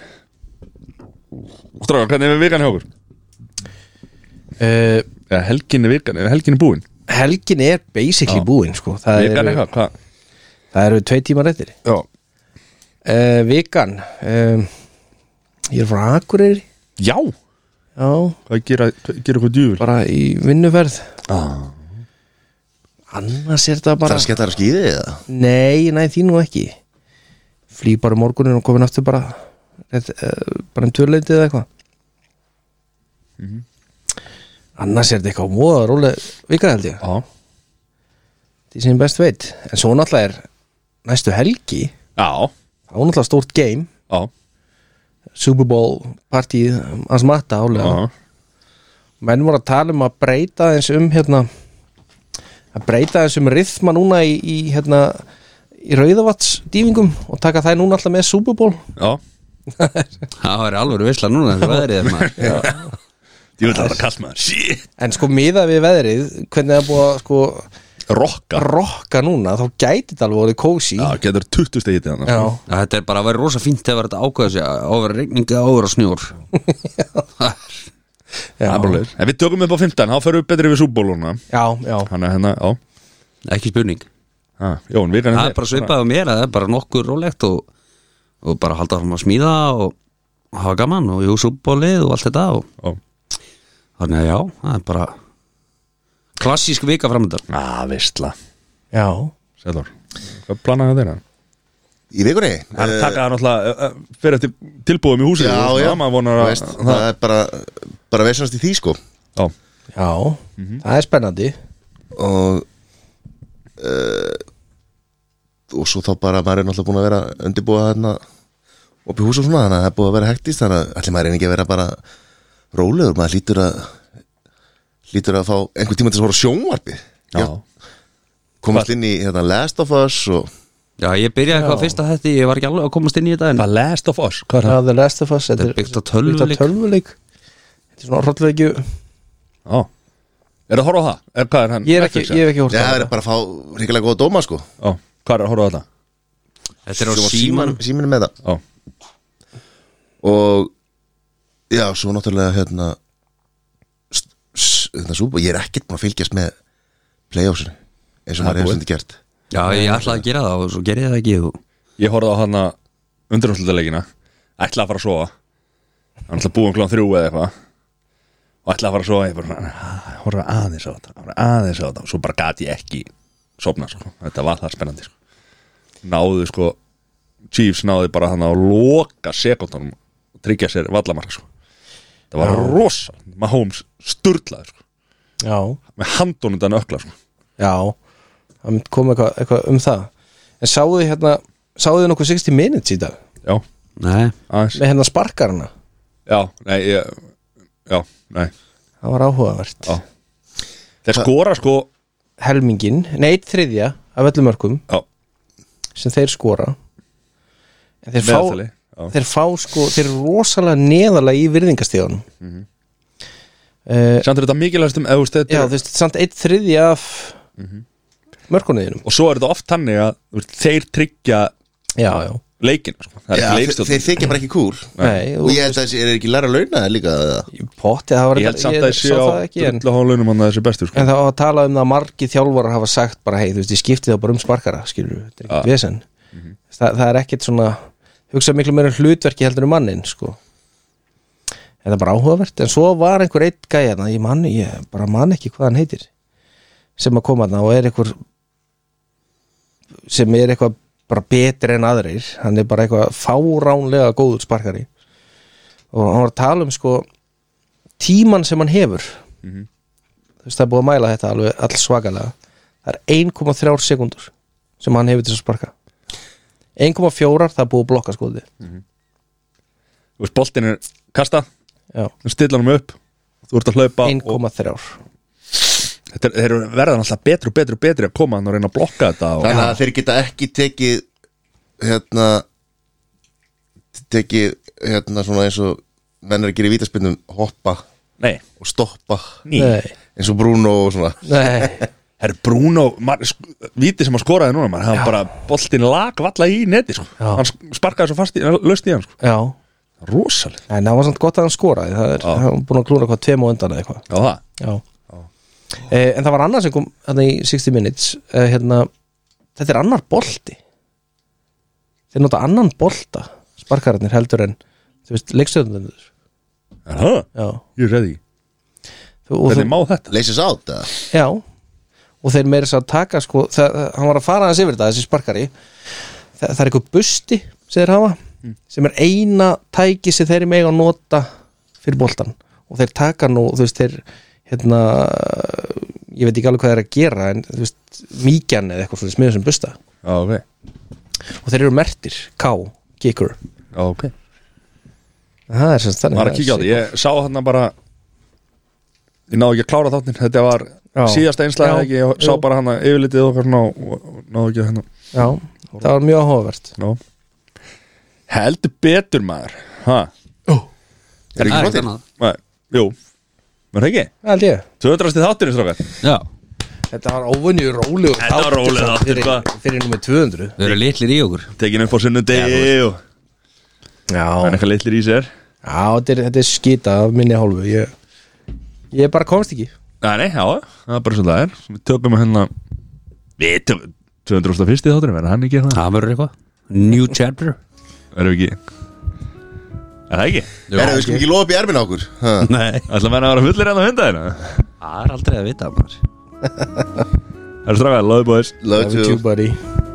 S1: Stráka, hvernig er vikan hjá okkur?
S2: Uh,
S1: Ja, helgin er vikan, er helgin er búin?
S2: helgin er basically búin sko. það,
S1: Vikan
S2: eru,
S1: eitthvað, hvað?
S2: það eru tvei tímar eftir
S1: Já
S2: uh, Vikan um, Ég er frá Akureyri
S1: Já,
S2: Já,
S1: hvað gera, hvað gera eitthvað djúvel?
S2: bara í vinnuferð
S1: Ah.
S2: Annars er þetta
S4: Það
S2: bara
S4: er skemmtlar að skýði eða
S2: Nei, nei, því nú ekki Flý bara um morgunin og komin aftur bara eh, rétt, uh, bara um tvöleiti eða eitthvað annars er þetta eitthvað móða róleg vika held ég
S3: Já.
S2: því sem ég best veit en svo náttúrulega er næstu helgi
S1: Já,
S2: þá er náttúrulega stórt game
S1: já,
S2: Super Bowl partíð hans matta álega
S1: já
S2: menn voru að tala um að breyta aðeins um hérna að breyta aðeins um rithma núna í, í hérna í rauðavatsdýfingum og taka það núna alltaf með Super Bowl
S1: Já,
S3: Það var alveg veisla núna þessu veðrið er maður
S1: ég vil það vera kallt maður Shit,
S2: en sko miða við veðrið hvernig það er búið að sko
S1: rocka
S2: rokka núna þá gæti þetta alveg orðið kósi
S1: Já, getur 20 stegið til hann
S2: Já.
S3: Já, Þetta er bara að vera rosa fínt þegar þetta ákveða sig á að vera regningi á að vera snjór
S2: Já.
S1: En við tökum upp á 15, þá förum við betri við súbóluna
S2: já, já,
S1: Þannig að hérna, já
S3: Ekki spurning
S1: Ah, Jón, við kannum
S3: Það er bara svipað á mér að það er bara nokkur rólegt og, og bara halda fram að smíða og og hafa gaman og jú súbólið og allt þetta og þannig að já, það er bara klassísk vika framöndan
S1: Á, veistla
S2: já
S1: Sællur, hvað hérna? planaði þeirra?
S4: Í vikunni
S1: Það er
S4: Eh,
S1: að taka það náttúrulega uh, uh, fyrir eftir tilbúðum í húsinu
S4: Já,
S1: og svona,
S4: já,
S1: maður vonar að
S4: Veist, það er bara, bara veisnast í því sko
S1: Já,
S2: já,
S3: Mhm.
S2: það er spennandi
S4: og uh, og svo þá bara maður er náttúrulega búin að vera undirbúa þarna upp í hús og svona þannig að það er búið að vera hektist þannig að allir maður er ekki að vera bara rólegur, maður lítur að lítur að fá einhvern tíma til að voru sjónvarpi
S1: já,
S4: komast inn í hérna, Last of Us og
S3: Já, ég byrjaði eitthvað fyrst að þetta, ég var ekki alveg að komast inn í þetta en
S1: The Last of Us, hvað
S2: já, The Last of Us
S3: Þetta er byggt á tölvuleik.
S2: byggt á tölvuleik. þetta er svona hrollveikju
S1: Já Er það að horfa á það? Er, hvað er hann?
S2: ég er ekki, ég er ekki hort
S4: Já, það er bara að fá ríkilega góða dóma sko
S1: Já, hvað er að horfa á þetta?
S3: þetta er á
S4: Svo
S3: síman
S4: símanum- símanum með það
S1: Já,
S4: og já, svo náttúrulega hérna s- s- hérna súpa, ég er ekkert búin að fylgjast með playoffsinu eins og maður hefur þetta gert
S3: Já, ég ætlaði að gera það og svo gerði ég það ekki og...
S1: ég horfa á hann að undurumslutaleikina Ætla að fara að sofa Hann ætla að búa um klán þrjú eða eitthvað Og ætla að fara að sofa Ég bara, svona, horfa aðeins á þetta Horfa aðeins á þetta Og svo bara gati ég ekki sofna sko. Þetta var það spennandi sko. Náðu sko Chiefs náði bara hann að loka sekundunum Og tryggja sér vallamark sko. Það var rosa Mahomes sturlaði sko.
S2: já,
S1: Með handunum þannig ökla sko.
S2: já, það myndi koma eitthvað, eitthvað um það en sáðu þið hérna sáðu þið nokkuð 60 minutes í dag
S1: Já,
S3: Nei,
S1: aðeins
S2: með hérna sparkarna,
S1: Já, nei, ég, já, nei
S2: það var áhugavert
S1: Já. Þeir skora sko
S2: helmingin, neitt þriðja af öllum örkum
S1: Já,
S2: sem þeir skora en þeir
S1: meðaltali
S2: fá,
S1: Já,
S2: þeir fá sko, þeir eru rosalega neðalega í virðingastíðanum mm
S1: Mhm.
S2: -hmm.
S1: Samt er þetta mikilvægast um eða
S2: já,
S1: þetta
S2: þú veist, samt eitt þriði af mm
S1: Mhm.
S2: -hmm. mörkunniðinum
S1: Og svo er þetta oft þannig að þú veist, þeir tryggja
S2: já, já,
S1: leikin sko. Það er
S4: já,
S1: ekki
S4: þeir,
S1: leikstjórn
S4: þeir þykja bara ekki cool
S2: nei,
S4: og ég held að þessi er ekki læra að launa það líka eða?
S2: potti, það var
S1: Ég held
S2: þetta-
S1: samt að þeir
S2: sá
S1: séu á
S2: það ekki en,
S1: drullu hálunum hann að þessi bestu sko.
S2: en það var að tala um það að margi þjálfarar hafa sagt bara, hei, þú veist, ég skipti það bara um sparkara skilur, þetta er ekkert vesen Þa, það er ekkert svona, hugsa miklu meira um hlutverki heldur um mannin, sko en það er bara áhugavert en svo var einhver eitt gæðan, ég man ég bara man ekki hvað hann heitir sem að koma þarna og er einhver sem er eitthvað bara betri en aðrir hann er bara eitthvað fáránlega góður sparkari og hann var að tala um sko tíman sem hann hefur þú veist það er búið að mæla þetta alveg all svakalega það er 1,3 sekundur sem hann hefur til þess að sparka 1,4 það er búið að blokka skoði
S1: Þú veist, boltin er kasta
S2: já,
S1: Þú stilla hann upp Þú ert að hlaupa og
S2: 1,3
S1: þetta, er- Þeir eru- verða alltaf betri og betri og betri að koma hann og reyna að blokka þetta og,
S4: þannig að þeir geta ekki tekið hérna tekið hérna svona eins og menn er að gera í vítaspinnum hoppa
S1: Nei,
S4: og stoppa
S1: ný
S2: nei,
S4: eins og Bruno og svona
S2: nei,
S1: Herru Bruno, mar, sk, viti sem að skoraði núna maður, hann bara, boltin lag valla í neti sko.
S2: Já.
S1: hann sk- sparkaði svo fast í, löst í hann sko.
S2: já
S1: rosaleg,
S2: en það var samt gott að hann skoraði það er, hann var búin að klúra hvað tveim og undan eða eitthvað
S1: já það
S2: já, Eh, en það var annar sem kom hann í 60 minutes eh, hérna, þetta er annar bolti þeir nota annan bolta sparkararnir heldur en þú veist, leikstöðundur
S1: er það,
S2: já,
S1: ég reyði
S2: þú, og þú-
S1: hvernig má þetta
S4: leysist át eða?
S2: Já og þeir meira svo að taka sko það, hann var að fara aðeins yfir þetta, þessi sparkari það, það er eitthvað busti sem þeir hafa,
S1: Mm.
S2: sem er eina tæki sem þeir mega að nota fyrir boltan og þeir taka nú, þú veist, þeir hérna ég veit ekki alveg hvað það er að gera en þú veist, mýkjan eða eitthvað svolítið með þessum busta
S1: Já, ok
S2: og þeir eru mertir, K, Kikur
S1: Já, ok
S2: það er sem sagt þannig
S1: Var að kíkja á því, ég sá hann bara Ég náði ekki að klára þáttinn Þetta var
S2: Já.
S1: síðasta einslega
S2: Já.
S1: ekki Ég sá
S2: Jú.
S1: bara hann að yfirlitið og okkar svona og- og náði ekki að hérna
S2: Já, það var mjög áhugavert
S1: Ná. Heldur betur maður ha?
S4: Er ekki
S3: Það er
S4: flottir?
S3: annað.
S1: Nei, Jú, var það ekki?
S2: Það held ég
S1: Tvöðrasti þátturinn strákar
S3: Já,
S2: Þetta var óvenju rólegur
S1: Þetta var
S2: þáttur
S1: rólegur þáttur,
S2: fyrir,
S1: hvað?
S2: fyrir nummer 200
S3: við erum litlir í okkur
S1: Tekin upp á sunnudegi og Það
S2: Já,
S1: er eitthvað litlir í sér
S2: Já þetta, er, þetta er skita af minni hálfu ég, ég bara komst ekki
S1: Nei, nei, já, það er bara svo það er Við töpum hérna Við töpum 201. þátturinn, verður hann ekki það?
S3: Það verður eitthvað New chapter
S1: Verður ekki Er það ekki?
S3: Jú.
S4: Erum við skum ekki lofa upp í ermina á okkur? Ha.
S3: Nei,
S1: Ætla menn að vera fullir enn á hundaðina
S3: það er aldrei að vita maður
S1: Það er strákar, love boys
S4: Love
S2: Love you
S4: you
S2: buddy